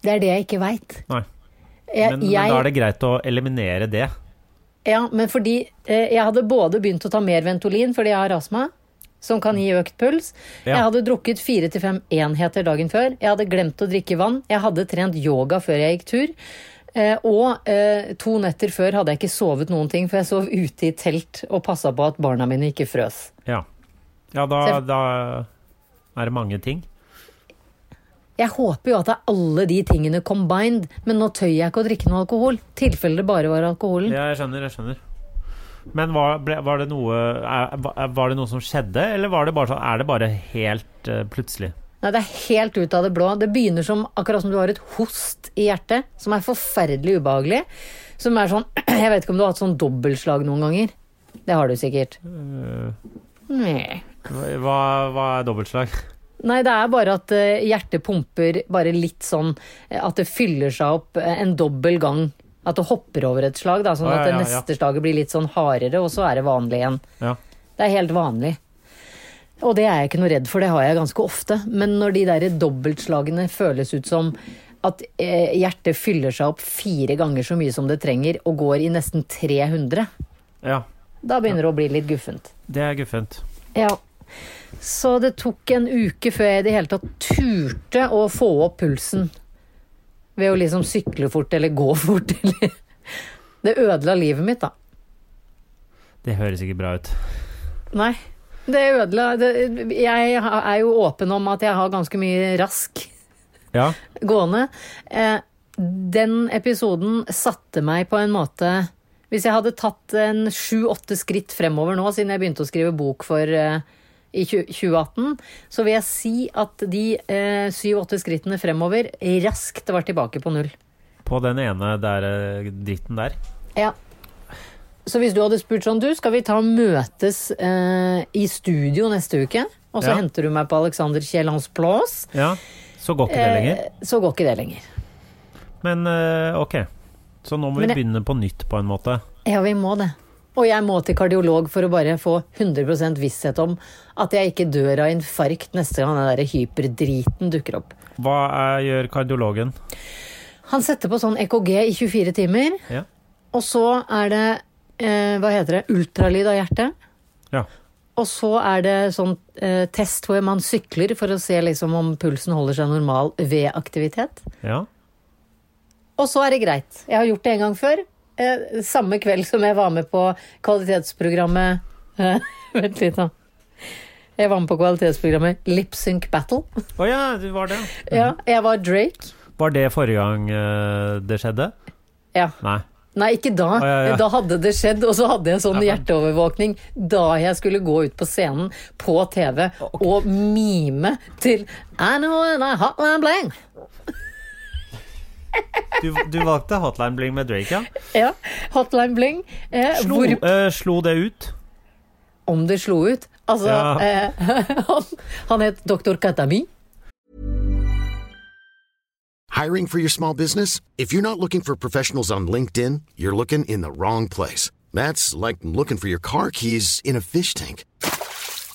Speaker 1: Det er det jeg ikke veit.
Speaker 2: Nei. Men, men da er det greit å eliminere det.
Speaker 1: Ja, men fordi eh, jeg hadde både begynt å ta mer Ventolin fordi jeg har astma, som kan gi økt puls.
Speaker 2: Ja.
Speaker 1: Jeg hadde drukket fire til fem enheter dagen før. Jeg hadde glemt å drikke vann. Jeg hadde trent yoga før jeg gikk tur. Eh, og eh, to netter før hadde jeg ikke sovet noen ting, for jeg sov ute i telt og passa på at barna mine ikke frøs.
Speaker 2: Ja, ja da,
Speaker 1: Selv-
Speaker 2: da er det mange ting.
Speaker 1: Jeg håper jo at det er alle de tingene combined, men nå tør jeg ikke å drikke noe alkohol. Tilfelle det bare var alkoholen.
Speaker 2: Ja, jeg skjønner, jeg skjønner. Men var, ble, var, det noe, er, var det noe som skjedde, eller var det bare, sånn- er det bare helt eh, plutselig?
Speaker 1: Nei, det er helt ut av det blå. Det begynner som akkurat som du har et host i hjertet, som er forferdelig ubehagelig. Som er sånn Jeg vet ikke om du har hatt sånn dobbeltslag noen ganger. Det har du sikkert.
Speaker 2: Eh,
Speaker 1: Nei.
Speaker 2: Hva, hva er dobbeltslag?
Speaker 1: Nei, det er bare at eh, hjertet pumper bare litt sånn eh, at det fyller seg opp eh, en dobbel gang. At det hopper over et slag, da, sånn
Speaker 2: Å, ja,
Speaker 1: at det
Speaker 2: ja, ja.
Speaker 1: neste slaget blir litt sånn hardere, og så er det vanlig igjen.
Speaker 2: Ja.
Speaker 1: Det er helt vanlig. Og det er jeg ikke noe redd for, det har jeg ganske ofte. Men når de der dobbeltslagene føles ut som at eh, hjertet fyller seg opp fire ganger så mye som det trenger, og går i nesten 300,
Speaker 2: ja.
Speaker 1: da begynner det å bli litt guffent.
Speaker 2: Det er guffent.
Speaker 1: Ja. Så det tok en uke før jeg i det hele tatt turte å få opp pulsen. Ved å liksom sykle fort eller gå fort eller Det ødela livet mitt, da.
Speaker 2: Det høres ikke bra ut.
Speaker 1: Nei. Det ødela det, Jeg er jo åpen om at jeg har ganske mye rask
Speaker 2: Ja,
Speaker 1: gående. Eh, den episoden satte meg på en måte Hvis jeg hadde tatt en sju-åtte skritt fremover nå, siden jeg begynte å skrive bok for eh, i tju- 2018, så vil jeg si at de syv-åtte skrittene fremover raskt var tilbake på null.
Speaker 2: på den ene der, eh, dritten der.
Speaker 1: Ja. Så hvis du hadde spurt sånn, du, skal vi ta og møtes eh, i studio neste uke? Og så
Speaker 2: Ja.
Speaker 1: henter du meg på Alexander Kiellands plass.
Speaker 2: Ja, så går ikke det lenger.
Speaker 1: Eh, så går ikke det lenger.
Speaker 2: Men eh, ok, så nå må vi
Speaker 1: Men jeg-
Speaker 2: begynne på nytt på en måte.
Speaker 1: Ja, vi må det. Og jeg må til kardiolog for å bare få 100 visshet om at jeg ikke dør av infarkt neste gang den der hyperdriten dukker opp.
Speaker 2: Hva er, gjør kardiologen?
Speaker 1: Han setter på sånn EKG i 24 timer,
Speaker 2: Ja.
Speaker 1: og så er det eh, Hva heter det? Ultralyd av hjertet.
Speaker 2: ja.
Speaker 1: Og så er det sånn eh, test hvor man sykler for å se liksom om pulsen holder seg normal ved aktivitet.
Speaker 2: ja.
Speaker 1: Og så er det greit. Jeg har gjort det en gang før. Eh, samme kveld som jeg var med på kvalitetsprogrammet eh, Vent litt, nå. Jeg var med på kvalitetsprogrammet Lipsync Battle.
Speaker 2: Å ja, det var det.
Speaker 1: Ja, jeg var Drake.
Speaker 2: Var det forrige gang eh, det skjedde?
Speaker 1: Ja.
Speaker 2: Nei.
Speaker 1: Nei, ikke da.
Speaker 2: ja, ja.
Speaker 1: Da hadde det skjedd, og så hadde jeg sånn hjerteovervåkning da jeg skulle gå ut på scenen på TV og mime til I know and I hotline bling.
Speaker 2: Du, du valgte Hotline Bling med Drake, ja?
Speaker 1: Ja, hotline bling. Eh,
Speaker 2: Slo,
Speaker 1: hvor-
Speaker 2: eh, slo det ut?
Speaker 1: om det slo ut. Altså,
Speaker 2: Ja.
Speaker 1: eh, han, han het doktor Katami.
Speaker 3: Hiring for your small business? If you're not looking for professionals on LinkedIn, you're looking in the wrong place. That's like looking for your car keys in a fish tank.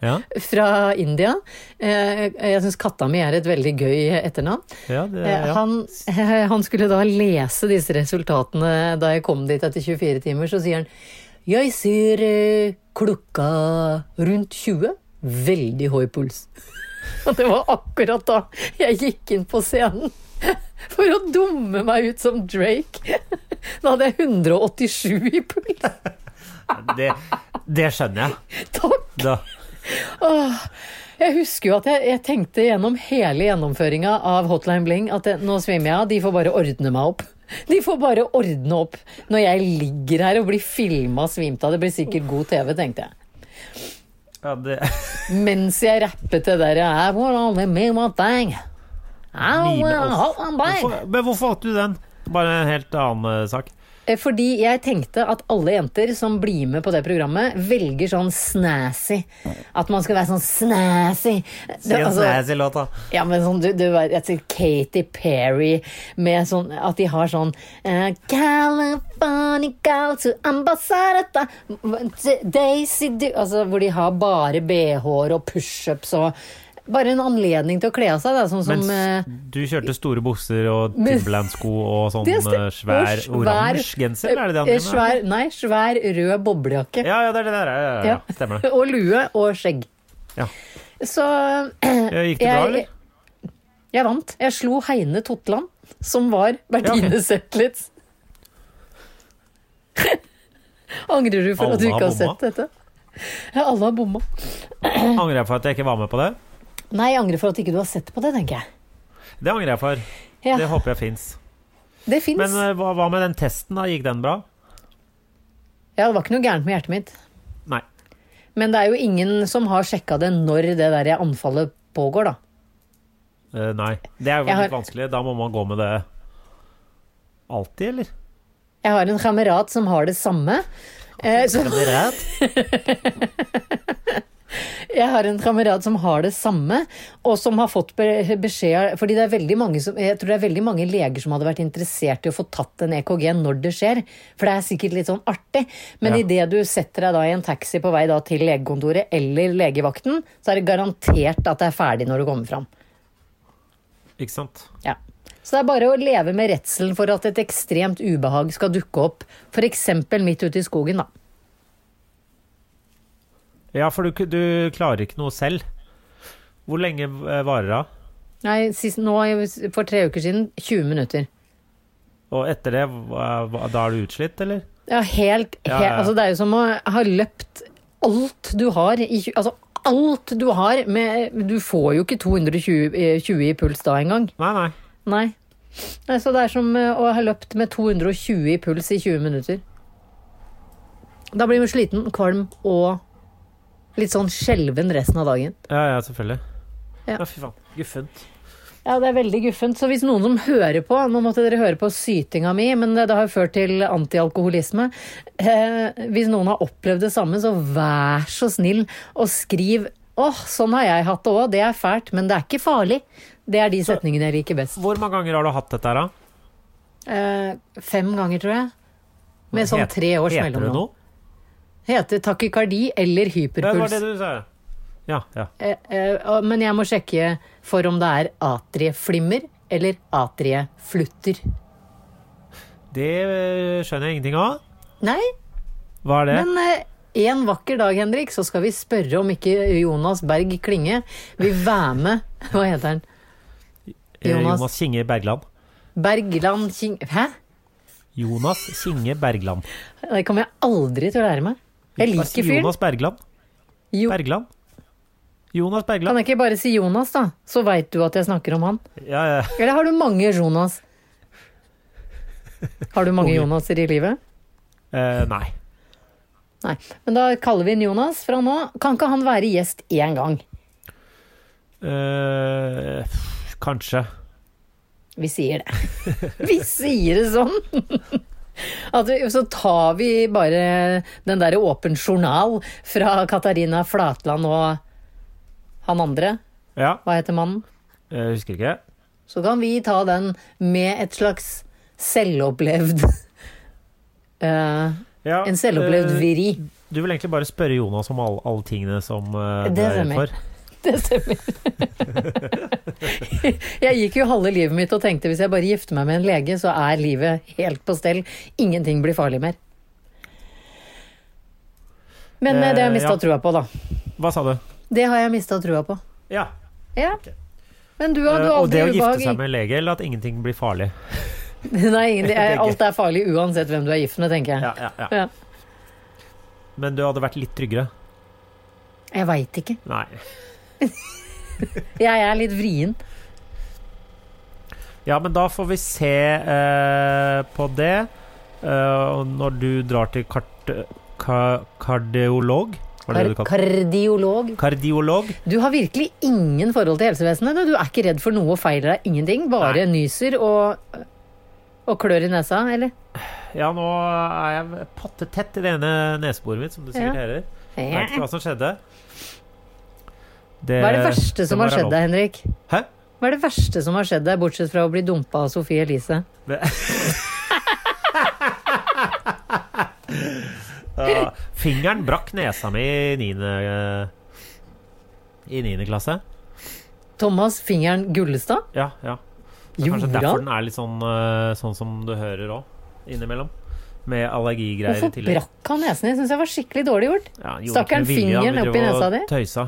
Speaker 2: Ja,
Speaker 1: fra India. Eh, Jeg syns Katami er et veldig gøy etternavn.
Speaker 2: ja, det,
Speaker 1: Eh,
Speaker 2: ja.
Speaker 1: Han, eh, han skulle da lese disse resultatene da jeg kom dit etter 24 timer, så sier han Jeg ser eh, klokka rundt 20. Veldig høy puls. Og det var akkurat da jeg gikk inn på scenen. For å dumme meg ut som Drake. Da hadde jeg 187 i puls.
Speaker 2: Det, det skjønner jeg.
Speaker 1: Takk!
Speaker 2: Da.
Speaker 1: Åh, jeg husker jo at jeg, jeg tenkte gjennom hele gjennomføringa av Hotline Bling at det, nå svimer jeg av, de får bare ordne meg opp. De får bare ordne opp når jeg ligger her og blir filma svimt av. Det blir sikkert god TV, tenkte jeg.
Speaker 2: Ja, det,
Speaker 1: Mens jeg rappet det der I want only me one thing. I
Speaker 2: Mime,
Speaker 1: want
Speaker 2: uff.
Speaker 1: Hotline Bling.
Speaker 2: Hvorfor- men hvorfor valgte du den? Bare en helt annen eh, sak.
Speaker 1: Eh, Fordi jeg tenkte at alle jenter som blir med på det programmet, velger sånn snazzy. At man skal være sånn snazzy.
Speaker 2: Si en
Speaker 1: Altså-
Speaker 2: snazzy låt, da.
Speaker 1: Ja, men sånn, du, du vet, jeg sier Katy Perry med sånn At de har sånn eh, California girl to ambassadata Daisy du Altså hvor de har bare BH-er og pushups og Bare en anledning til å kle av seg, da, sånn som eh,
Speaker 2: Mens du kjørte store bukser og
Speaker 1: Mens-
Speaker 2: Timberland-sko og sånn
Speaker 1: det stemmer.
Speaker 2: eh, svær
Speaker 1: Og
Speaker 2: oransje genser, eller er det det han
Speaker 1: eh,
Speaker 2: driver med?
Speaker 1: Svær, nei, svær rød boblejakke.
Speaker 2: Ja, ja, det er det der. Ja, ja, ja.
Speaker 1: Ja.
Speaker 2: Stemmer det.
Speaker 1: og lue og skjegg.
Speaker 2: Ja.
Speaker 1: Så
Speaker 2: Eh, Gikk det bra,
Speaker 1: Jeg-
Speaker 2: eller?
Speaker 1: jeg vant. Jeg slo Heine Totland, som var Bertine Zetlitz. Angrer du for
Speaker 2: Alle
Speaker 1: at du
Speaker 2: har
Speaker 1: ikke har
Speaker 2: bomma.
Speaker 1: sett dette? Ja, alle har bomma.
Speaker 2: Angrer jeg for at jeg ikke var med på det?
Speaker 1: Nei, jeg angrer for at ikke du har sett på det, tenker jeg.
Speaker 2: Det angrer jeg for.
Speaker 1: Ja,
Speaker 2: Det
Speaker 1: det
Speaker 2: håper jeg fins.
Speaker 1: fins.
Speaker 2: Men eh, hva, hva med den testen, da? Gikk den bra?
Speaker 1: ja, det var ikke noe gærent med hjertet mitt.
Speaker 2: Nei.
Speaker 1: Men det er jo ingen som har sjekka det når det der anfallet pågår, da.
Speaker 2: Eh, nei. Det er jo
Speaker 1: Jeg
Speaker 2: litt
Speaker 1: har-
Speaker 2: vanskelig. Da må man gå med det alltid, eller?
Speaker 1: Jeg har en kamerat som har det samme. Eh, så Jeg har en kamerat som har det samme, og som har fått be- beskjed Fordi det er veldig mange som, jeg tror det er veldig mange leger som hadde vært interessert i å få tatt en EKG når det skjer, for det er sikkert litt sånn artig. Men
Speaker 2: Ja.
Speaker 1: i idet du setter deg da i en taxi på vei da til legekontoret eller legevakten, så er det garantert at det er ferdig når du kommer fram.
Speaker 2: Ikke sant?
Speaker 1: Ja. Så det er bare å leve med redselen for at et ekstremt ubehag skal dukke opp, f.eks. midt ute i skogen, da.
Speaker 2: Ja, for du, k- du klarer ikke noe selv. Hvor lenge eh, varer det?
Speaker 1: Nei, sist, nå for tre uker siden 20 minutter.
Speaker 2: Og etter det, hva- hva- da er du utslitt, eller?
Speaker 1: Ja, helt, helt
Speaker 2: Ja, ja, ja.
Speaker 1: Altså, Det er jo som å ha løpt alt du har i tju- Altså, alt du har med Du får jo ikke 220 eh, 20 i puls da engang.
Speaker 2: Nei, nei.
Speaker 1: Nei. Nei. Så det er som eh, å ha løpt med 220 i puls i 20 minutter. Da blir man sliten, kvalm og litt sånn skjelven resten av dagen.
Speaker 2: Ja, ja, selvfølgelig.
Speaker 1: Ja.
Speaker 2: Ja, fy faen. Guffent.
Speaker 1: Ja, det er veldig guffent. Så hvis noen som hører på Nå måtte dere høre på sytinga mi, men det det har jo ført til antialkoholisme. Eh, hvis noen har opplevd det samme, så vær så snill og skriv Åh, sånn har jeg hatt det òg. Det er fælt, men det er ikke farlig. Det er de setningene jeg liker best.
Speaker 2: Hvor mange ganger har du hatt dette her, da?
Speaker 1: Eh, fem ganger, tror jeg. Med sånn
Speaker 2: Het-
Speaker 1: tre års
Speaker 2: Heter det
Speaker 1: mellomrom.
Speaker 2: noe?
Speaker 1: Heter takykardi eller
Speaker 2: Ja, det var
Speaker 1: hyperpuls.
Speaker 2: det du sa. Ja, ja.
Speaker 1: Eh, eh, og- men jeg må sjekke for om det er atrieflimmer eller atrieflutter.
Speaker 2: Det eh, skjønner jeg ingenting av.
Speaker 1: Nei,
Speaker 2: Hva er det?
Speaker 1: Men eh, En vakker dag, Henrik, så skal vi spørre om ikke Jonas Berg Klinge vil være med Hva heter han?
Speaker 2: Eh,
Speaker 1: Jonas.
Speaker 2: Jonas Kinge Bergland.
Speaker 1: Bergland King... Hæ?
Speaker 2: Jonas Kinge Bergland.
Speaker 1: Det kommer jeg aldri til å lære meg. Jeg
Speaker 2: Altså,
Speaker 1: liker fyren.
Speaker 2: Jonas Bergland.
Speaker 1: Jo,
Speaker 2: Bergland. Jonas
Speaker 1: kan
Speaker 2: Bergland.
Speaker 1: jeg ikke bare si Jonas, da? Så veit du at jeg snakker om han.
Speaker 2: Ja, ja.
Speaker 1: Eller har du mange Jonas? Har du mange Jonaser i livet?
Speaker 2: Eh, nei.
Speaker 1: Nei. Men da kaller vi inn Jonas fra nå. Kan ikke han være gjest én gang?
Speaker 2: Eh, kanskje.
Speaker 1: Vi sier det. Vi sier det sånn! At vi, så tar vi bare den derre åpen journal fra Katarina Flatland og han andre.
Speaker 2: Ja,
Speaker 1: Hva heter mannen?
Speaker 2: jeg husker ikke.
Speaker 1: Så kan vi ta den med et slags selvopplevd eh,
Speaker 2: Ja,
Speaker 1: En selvopplevd
Speaker 2: eh,
Speaker 1: viri.
Speaker 2: Du vil egentlig bare spørre Jonas om alle, alle tingene som eh,
Speaker 1: Det
Speaker 2: du er redd
Speaker 1: stemmer.
Speaker 2: for.
Speaker 1: Det stemmer. jeg gikk jo halve livet mitt og tenkte hvis jeg bare gifter meg med en lege, så er livet helt på stell. Ingenting blir farlig mer. Men eh, det har jeg
Speaker 2: Eh,
Speaker 1: mista
Speaker 2: ja.
Speaker 1: trua på, da.
Speaker 2: Hva sa du?
Speaker 1: Det har jeg mista trua på.
Speaker 2: Ja.
Speaker 1: Ja. Men du har, du
Speaker 2: eh,
Speaker 1: har
Speaker 2: og
Speaker 1: aldri
Speaker 2: det å gifte
Speaker 1: ubehag
Speaker 2: seg med en lege, eller at ingenting blir farlig.
Speaker 1: Nei, det er,
Speaker 2: Begge.
Speaker 1: alt er farlig uansett hvem du er gift med, tenker jeg.
Speaker 2: Ja, ja, ja.
Speaker 1: Ja.
Speaker 2: Men du hadde vært litt tryggere?
Speaker 1: Jeg veit ikke.
Speaker 2: Nei.
Speaker 1: Jeg er litt vrien.
Speaker 2: Ja, men da får vi se eh, på det. Eh, og når du drar til kart, ka, kardiolog Hva er det du
Speaker 1: Kar
Speaker 2: kaller
Speaker 1: kardiolog.
Speaker 2: Kardiolog.
Speaker 1: Du har virkelig ingen forhold til helsevesenet. Du Du er ikke redd for noe og feiler deg ingenting. Bare nyser og, og klør i nesa, eller?
Speaker 2: Ja, nå er jeg pottetett i det ene neseboret mitt, som du sikkert
Speaker 1: Ja.
Speaker 2: hører. Jeg vet ikke
Speaker 1: Hva
Speaker 2: hva som skjedde.
Speaker 1: er det verste som har skjedd deg, Henrik?
Speaker 2: Hæ?
Speaker 1: Hva er det verste som har skjedd deg, bortsett fra å bli dumpa av Sofie Elise?
Speaker 2: Ja, fingeren brakk nesa mi i niende eh, I niende klasse.
Speaker 1: Thomas Fingeren Gullestad?
Speaker 2: Ja, ja. Det er
Speaker 1: Gjorde
Speaker 2: kanskje derfor
Speaker 1: han?
Speaker 2: den er litt sånn, eh, sånn som du hører òg, innimellom. Med allergigreier
Speaker 1: Hvorfor
Speaker 2: i tillegg.
Speaker 1: brakk han nesen? Jeg syns jeg var skikkelig dårlig gjort.
Speaker 2: Ja, han gjorde
Speaker 1: Stakk
Speaker 2: ikke
Speaker 1: han
Speaker 2: med vilje, da. Vi
Speaker 1: fingeren
Speaker 2: drev
Speaker 1: opp i
Speaker 2: og
Speaker 1: nesa di?
Speaker 2: Tøysa.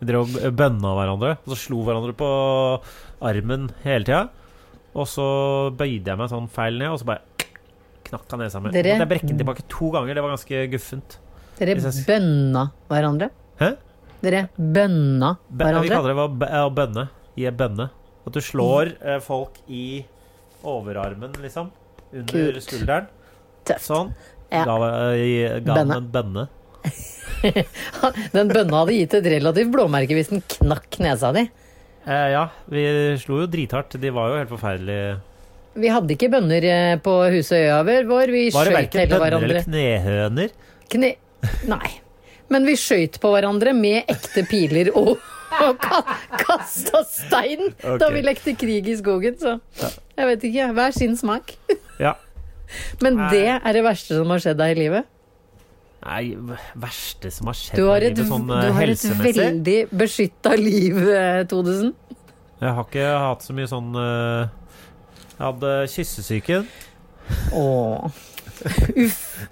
Speaker 2: Vi drev og bønna hverandre, og så slo hverandre på armen hele tida. Og så bøyde jeg meg sånn feil ned, og så bare knakk han nesa mi.
Speaker 1: Dere-
Speaker 2: Måtte Jeg brekke den tilbake to ganger, det var ganske guffent.
Speaker 1: Dere
Speaker 2: Hvis jeg s-
Speaker 1: bønna hverandre.
Speaker 2: Hæ?
Speaker 1: Dere bønna
Speaker 2: Bø- Vi
Speaker 1: hverandre.
Speaker 2: kaller det hva- bø- å bønne. Gi en bønne. At du slår
Speaker 1: Mm.
Speaker 2: eh, folk i overarmen, liksom. Under
Speaker 1: Kult.
Speaker 2: skulderen.
Speaker 1: Tøft.
Speaker 2: Sånn.
Speaker 1: Ja.
Speaker 2: Ga, eh, ga
Speaker 1: Bønne.
Speaker 2: han en bønne.
Speaker 1: Den bønna hadde gitt et relativt blåmerke hvis den knakk nesa di.
Speaker 2: Eh, ja, vi slo jo drithardt. De var jo helt forferdelige.
Speaker 1: Vi hadde ikke bønner eh, på huset og øya vår, vår. Vi
Speaker 2: Var det
Speaker 1: skøyt
Speaker 2: verken
Speaker 1: hele
Speaker 2: bønner
Speaker 1: hverandre.
Speaker 2: eller knehøner?
Speaker 1: Kne... Nei. Men vi skøyt på hverandre med ekte piler og, og ka kasta stein da
Speaker 2: Ok.
Speaker 1: vi lekte krig i skogen, så jeg vet ikke. Hver sin smak.
Speaker 2: Ja.
Speaker 1: Men
Speaker 2: Nei.
Speaker 1: det er det verste som har skjedd deg i livet.
Speaker 2: Nei, v- verste som har skjedd
Speaker 1: Du har
Speaker 2: i
Speaker 1: et,
Speaker 2: livet sånn
Speaker 1: du
Speaker 2: eh,
Speaker 1: har et
Speaker 2: helsemessig
Speaker 1: veldig beskytta liv, eh, Todesen.
Speaker 2: Jeg har ikke hatt så mye sånn eh, Jeg hadde kyssesyken.
Speaker 1: Åh. Uff.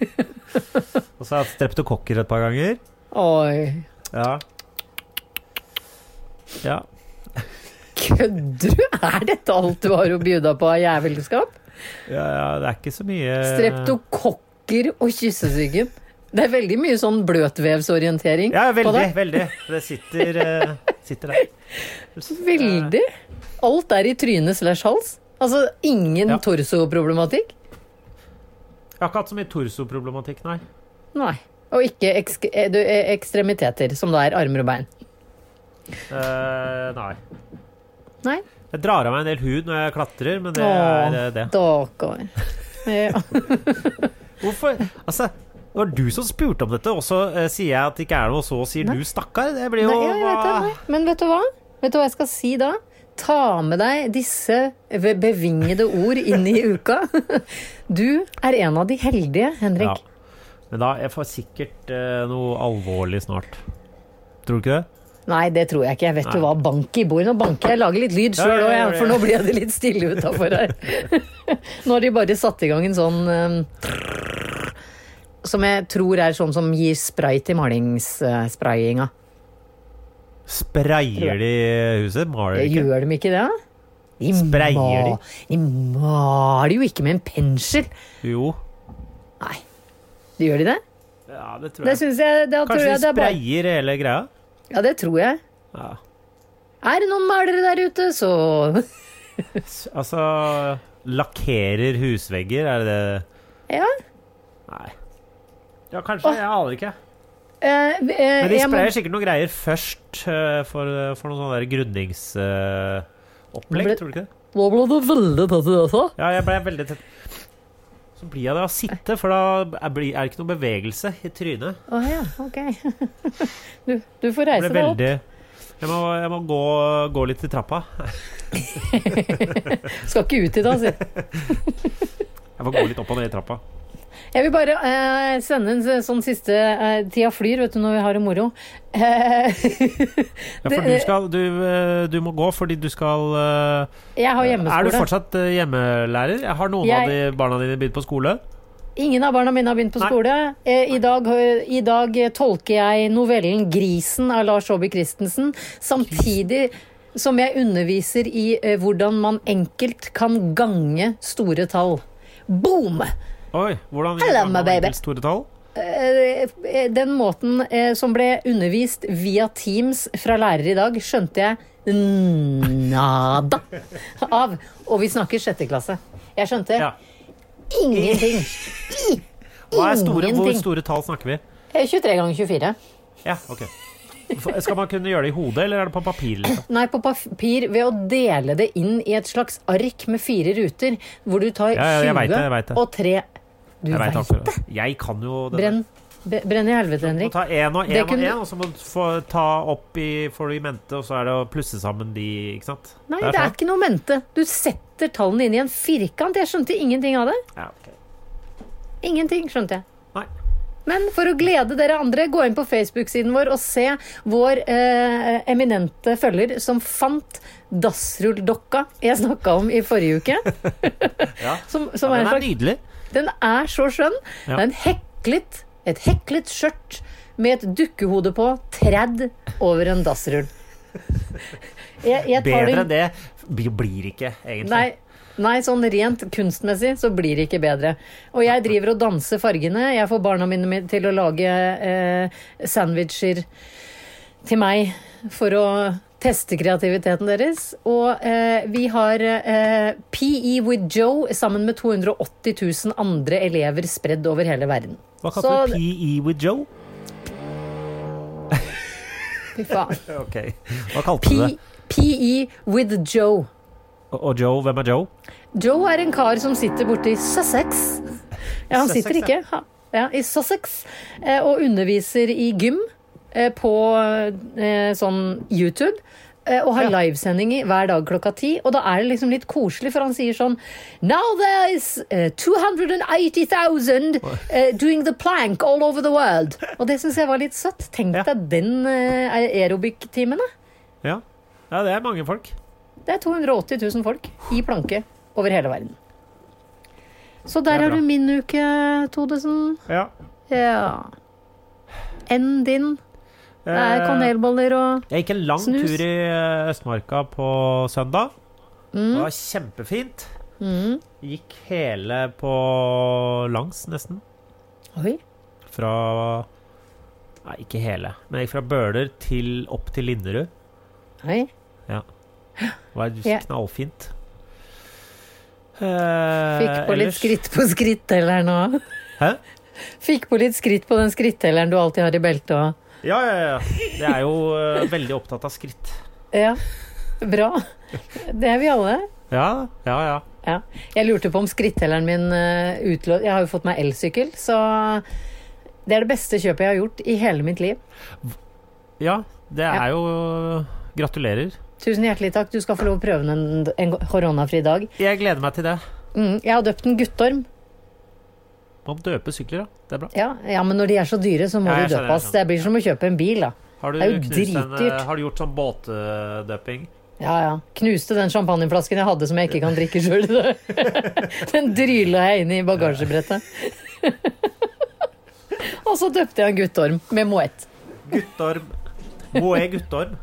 Speaker 2: Og så har jeg hatt streptokokker et par ganger.
Speaker 1: Oi.
Speaker 2: Ja. ja.
Speaker 1: Kødder du? Er dette alt du har å bjuda på av jævelskap?
Speaker 2: Ja, ja, det er ikke så mye
Speaker 1: Streptokokker og kyssesyken. Det er veldig mye sånn bløtvevsorientering
Speaker 2: Ja,
Speaker 1: på
Speaker 2: veldig.
Speaker 1: deg.
Speaker 2: veldig Det sitter, eh, sitter der. Eh,
Speaker 1: Veldig. Alt er i trynet slash hals. Altså ingen
Speaker 2: Ja.
Speaker 1: torsoproblematikk.
Speaker 2: Jeg har ikke hatt så mye torsoproblematikk, nei.
Speaker 1: Nei. Og ikke eksk eh, du, eh, ekstremiteter, som da er armer og bein.
Speaker 2: Eh, nei.
Speaker 1: Nei.
Speaker 2: Jeg drar av meg en del hud når jeg klatrer, men det
Speaker 1: Åh,
Speaker 2: er eh, det.
Speaker 1: Dakker. Ja.
Speaker 2: Hvorfor? Altså, det var du som spurte om dette, og så eh, sier jeg at det ikke er noe, og så sier du 'stakkar'. Det blir jo
Speaker 1: Nei, ja, jeg vet det.
Speaker 2: hva-
Speaker 1: Nei. Men vet du hva? Vet du hva jeg skal si da? Ta med deg disse ve- bevingede ord inn i uka. Du er en av de heldige, Henrik.
Speaker 2: Ja. Men da, jeg får sikkert eh, noe alvorlig snart. Tror du ikke det?
Speaker 1: Nei, det tror jeg ikke. Jeg vet
Speaker 2: Nei.
Speaker 1: du hva, bank i bordet. Nå banker jeg, lager litt lyd
Speaker 2: Ja,
Speaker 1: sjøl
Speaker 2: ja,
Speaker 1: òg,
Speaker 2: ja, ja.
Speaker 1: for nå ble det litt stille utafor her. Nå har de bare satt i gang en sånn um, Som jeg tror er sånn som gir spray til malingssprayinga.
Speaker 2: Sprayer de huset? Maler de ikke?
Speaker 1: Gjør de ikke det? da? De
Speaker 2: Sprayer
Speaker 1: ma- De maler jo ikke med en pensel!
Speaker 2: Jo.
Speaker 1: Nei. De gjør de det?
Speaker 2: Ja, det tror
Speaker 1: Det
Speaker 2: jeg.
Speaker 1: syns jeg da tror
Speaker 2: Kanskje de
Speaker 1: jeg det er bare
Speaker 2: sprayer hele greia?
Speaker 1: Ja, det tror jeg.
Speaker 2: Ja.
Speaker 1: Er det noen malere der ute, så
Speaker 2: S- Altså Lakkerer husvegger, er det det
Speaker 1: Ja.
Speaker 2: Nei. Ja, kanskje. Jeg aner ikke.
Speaker 1: Eh, eh,
Speaker 2: Men de
Speaker 1: jeg må-
Speaker 2: sprayer sikkert noen greier først eh, for, for noen sånne der grunningsopplegg,
Speaker 1: Ble-
Speaker 2: tror du ikke det?
Speaker 1: Nå ble det veldig altså. tett i det også.
Speaker 2: Ja, jeg ble veldig tett Så blir jeg det av å sitte, for da er blir- er det ikke noe bevegelse i trynet.
Speaker 1: Å ja, ok. Du, du får reise
Speaker 2: Jeg ble
Speaker 1: deg opp.
Speaker 2: veldig Jeg må, jeg må gå, gå litt i trappa.
Speaker 1: Skal ikke ut i dag, si.
Speaker 2: Jeg må gå litt opp og ned i trappa.
Speaker 1: Jeg vil bare eh, sende en s- sånn siste eh, Tida flyr, vet du, når vi har det moro. Eh,
Speaker 2: Ja, for du, skal, du, eh, du må gå fordi du skal eh,
Speaker 1: jeg har
Speaker 2: Er du
Speaker 1: hjemmeskole.
Speaker 2: fortsatt eh, hjemmelærer? Har noen
Speaker 1: Jeg-
Speaker 2: av de barna dine begynt på skole?
Speaker 1: Ingen av barna mine har begynt på
Speaker 2: Nei.
Speaker 1: skole. Eh, I dag, eh, I dag eh, tolker jeg novellen 'Grisen' av Lars Saabye Christensen, samtidig som jeg underviser i eh, hvordan man enkelt kan gange store tall. Boom!
Speaker 2: Oi, hvordan
Speaker 1: Hello, my
Speaker 2: hvordan
Speaker 1: baby.
Speaker 2: er store tall?
Speaker 1: Eh, eh, Den måten eh, som ble undervist via Teams fra lærer i dag, skjønte jeg nada av. Og vi snakker sjette klasse. Jeg skjønte
Speaker 2: Ja.
Speaker 1: ingenting.
Speaker 2: Hva er store, hvor
Speaker 1: Ingenting.
Speaker 2: store tall snakker vi?
Speaker 1: Eh, 23 ganger 24.
Speaker 2: Ja, ok For- Skal man kunne gjøre det i hodet, eller er det på papir? Liksom?
Speaker 1: Nei, på papir ved å dele det inn i et slags ark med fire ruter, hvor du tar
Speaker 2: Ja, ja, jeg vet det, jeg
Speaker 1: 20
Speaker 2: vet det.
Speaker 1: og 3 Du
Speaker 2: Jeg,
Speaker 1: veit
Speaker 2: vet akkurat. jeg kan jo det.
Speaker 1: Brenn,
Speaker 2: der.
Speaker 1: be- brenn i helvete,
Speaker 2: Du må
Speaker 1: Henrik.
Speaker 2: ta én og
Speaker 1: Det
Speaker 2: én og
Speaker 1: kunne-
Speaker 2: én, og så må du få ta opp i får du i mente, og så er det å plusse sammen de, ikke sant?
Speaker 1: Nei, det er ikke noe mente. Du setter tallene inn i en firkant. Jeg skjønte ingenting av det.
Speaker 2: Ja, ok.
Speaker 1: Ingenting, skjønte jeg.
Speaker 2: Nei.
Speaker 1: Men for å glede dere andre, gå inn på Facebook-siden vår og se vår eh, eminente følger som fant dassrulldokka jeg snakka om i forrige uke.
Speaker 2: Ja.
Speaker 1: Som,
Speaker 2: Ja,
Speaker 1: som er en
Speaker 2: den er
Speaker 1: slags,
Speaker 2: nydelig.
Speaker 1: den er så skjønn.
Speaker 2: Ja.
Speaker 1: Det er en heklet, et heklet skjørt med et dukkehode på, tredd over en dassrull. Jeg, jeg tar
Speaker 2: Bedre
Speaker 1: det-
Speaker 2: enn det blir- blir ikke, egentlig.
Speaker 1: Nei, nei, sånn rent kunstmessig så blir det ikke bedre. Og jeg driver og danser fargene. Jeg får barna mine med til å lage eh, sandwicher til meg for å teste kreativiteten deres. Og eh, vi har eh, PE with Joe sammen med 280 000 andre elever spredd over hele verden.
Speaker 2: Hva kalte
Speaker 1: Så-
Speaker 2: du E? PE with Joe?
Speaker 1: Fy faen.
Speaker 2: Ok. Hva kalte du det?
Speaker 1: P- PE with Joe.
Speaker 2: Og- Og Joe, hvem er Joe?
Speaker 1: Joe er en kar som sitter borte i Sussex. Ja, han
Speaker 2: Sussex,
Speaker 1: sitter ikke. Ha- Ja, I Sussex. eh, Og underviser i gym eh, på eh, sånn YouTube. eh, Og har livesending i hver dag klokka ti. Og da er det liksom litt koselig, for han sier sånn Now there is eh, 280,000 eh, doing the plank all over the world. Og det syns jeg var litt søtt. Tenk
Speaker 2: Ja.
Speaker 1: deg den eh, aerobic-timen, da.
Speaker 2: Ja. ja, det er mange folk.
Speaker 1: Det er 280 000 folk i planke over hele verden. Så der
Speaker 2: Det er
Speaker 1: har
Speaker 2: bra.
Speaker 1: du min uke, Todesen.
Speaker 2: Ja.
Speaker 1: Ja. Enn din. Det er
Speaker 2: Eh,
Speaker 1: kanelboller og
Speaker 2: Jeg gikk en lang
Speaker 1: Snus.
Speaker 2: tur i eh, Østmarka på søndag.
Speaker 1: Mm.
Speaker 2: Det var kjempefint. Gikk hele på langs, nesten.
Speaker 1: Oi.
Speaker 2: Fra Nei, ikke hele, men jeg gikk fra Bøler til opp til Linderud.
Speaker 1: Hei.
Speaker 2: Det var
Speaker 1: Ja.
Speaker 2: knallfint.
Speaker 1: Eh,
Speaker 2: Eh,
Speaker 1: Fikk på litt skritt på skrittelleren òg.
Speaker 2: Hæ?
Speaker 1: Fikk på litt skritt på den skrittelleren du alltid har i beltet òg.
Speaker 2: Ja, ja, ja. Jeg er jo eh, veldig opptatt av skritt.
Speaker 1: Ja. Bra. Det er vi alle.
Speaker 2: Ja, ja, ja.
Speaker 1: Ja. Jeg lurte på om skrittelleren min eh, utlå... Jeg har jo fått meg elsykkel, så det er det beste kjøpet jeg har gjort i hele mitt liv.
Speaker 2: Ja, det
Speaker 1: Ja.
Speaker 2: er jo Gratulerer.
Speaker 1: Tusen hjertelig takk. Du skal få lov å prøve den en, en koronafri dag.
Speaker 2: Jeg gleder meg til det.
Speaker 1: Mm, jeg har døpt en guttorm.
Speaker 2: Man døper sykler, ja. Det er bra.
Speaker 1: Ja, ja, men når de er så dyre, så må
Speaker 2: Ja, jeg
Speaker 1: du
Speaker 2: skjønner,
Speaker 1: døpes.
Speaker 2: jeg skjønner.
Speaker 1: Det blir som å kjøpe en bil, da.
Speaker 2: Har du,
Speaker 1: Det er jo
Speaker 2: knust en,
Speaker 1: dritdyrt.
Speaker 2: eh, har du gjort sånn båtdøping?
Speaker 1: Ja, ja. Knuste den champagneflasken jeg hadde som jeg ikke kan drikke sjøl. den dryla jeg inn i bagasjebrettet. Og så døpte jeg han Guttorm med Moet.
Speaker 2: Guttorm. Moe Guttorm.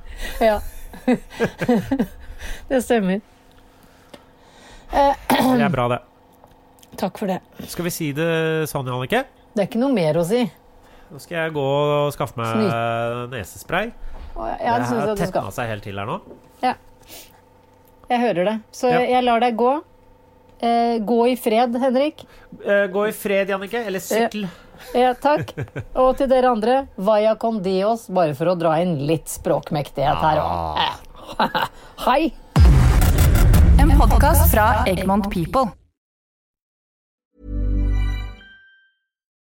Speaker 1: Ja. det stemmer.
Speaker 2: Det er bra, det.
Speaker 1: Takk for det.
Speaker 2: Skal vi si det sånn, Jannicke?
Speaker 1: Det er ikke noe mer å si.
Speaker 2: Nå skal jeg gå og skaffe meg
Speaker 1: Snytt.
Speaker 2: eh, nesespray.
Speaker 1: Og jeg-
Speaker 2: Det
Speaker 1: jeg synes
Speaker 2: har
Speaker 1: at du skal.
Speaker 2: tetna seg helt til her nå.
Speaker 1: Jeg hører det. Så
Speaker 2: Ja.
Speaker 1: jeg, jeg lar deg gå. Eh, gå i fred, Henrik.
Speaker 2: Eh, gå i fred, Jannicke. Eller sykkel.
Speaker 1: Ja, takk. Og til dere andre, vaya con dios, bare for å dra inn litt språkmektighet her òg. Hei!
Speaker 4: En podkast fra Egmont People.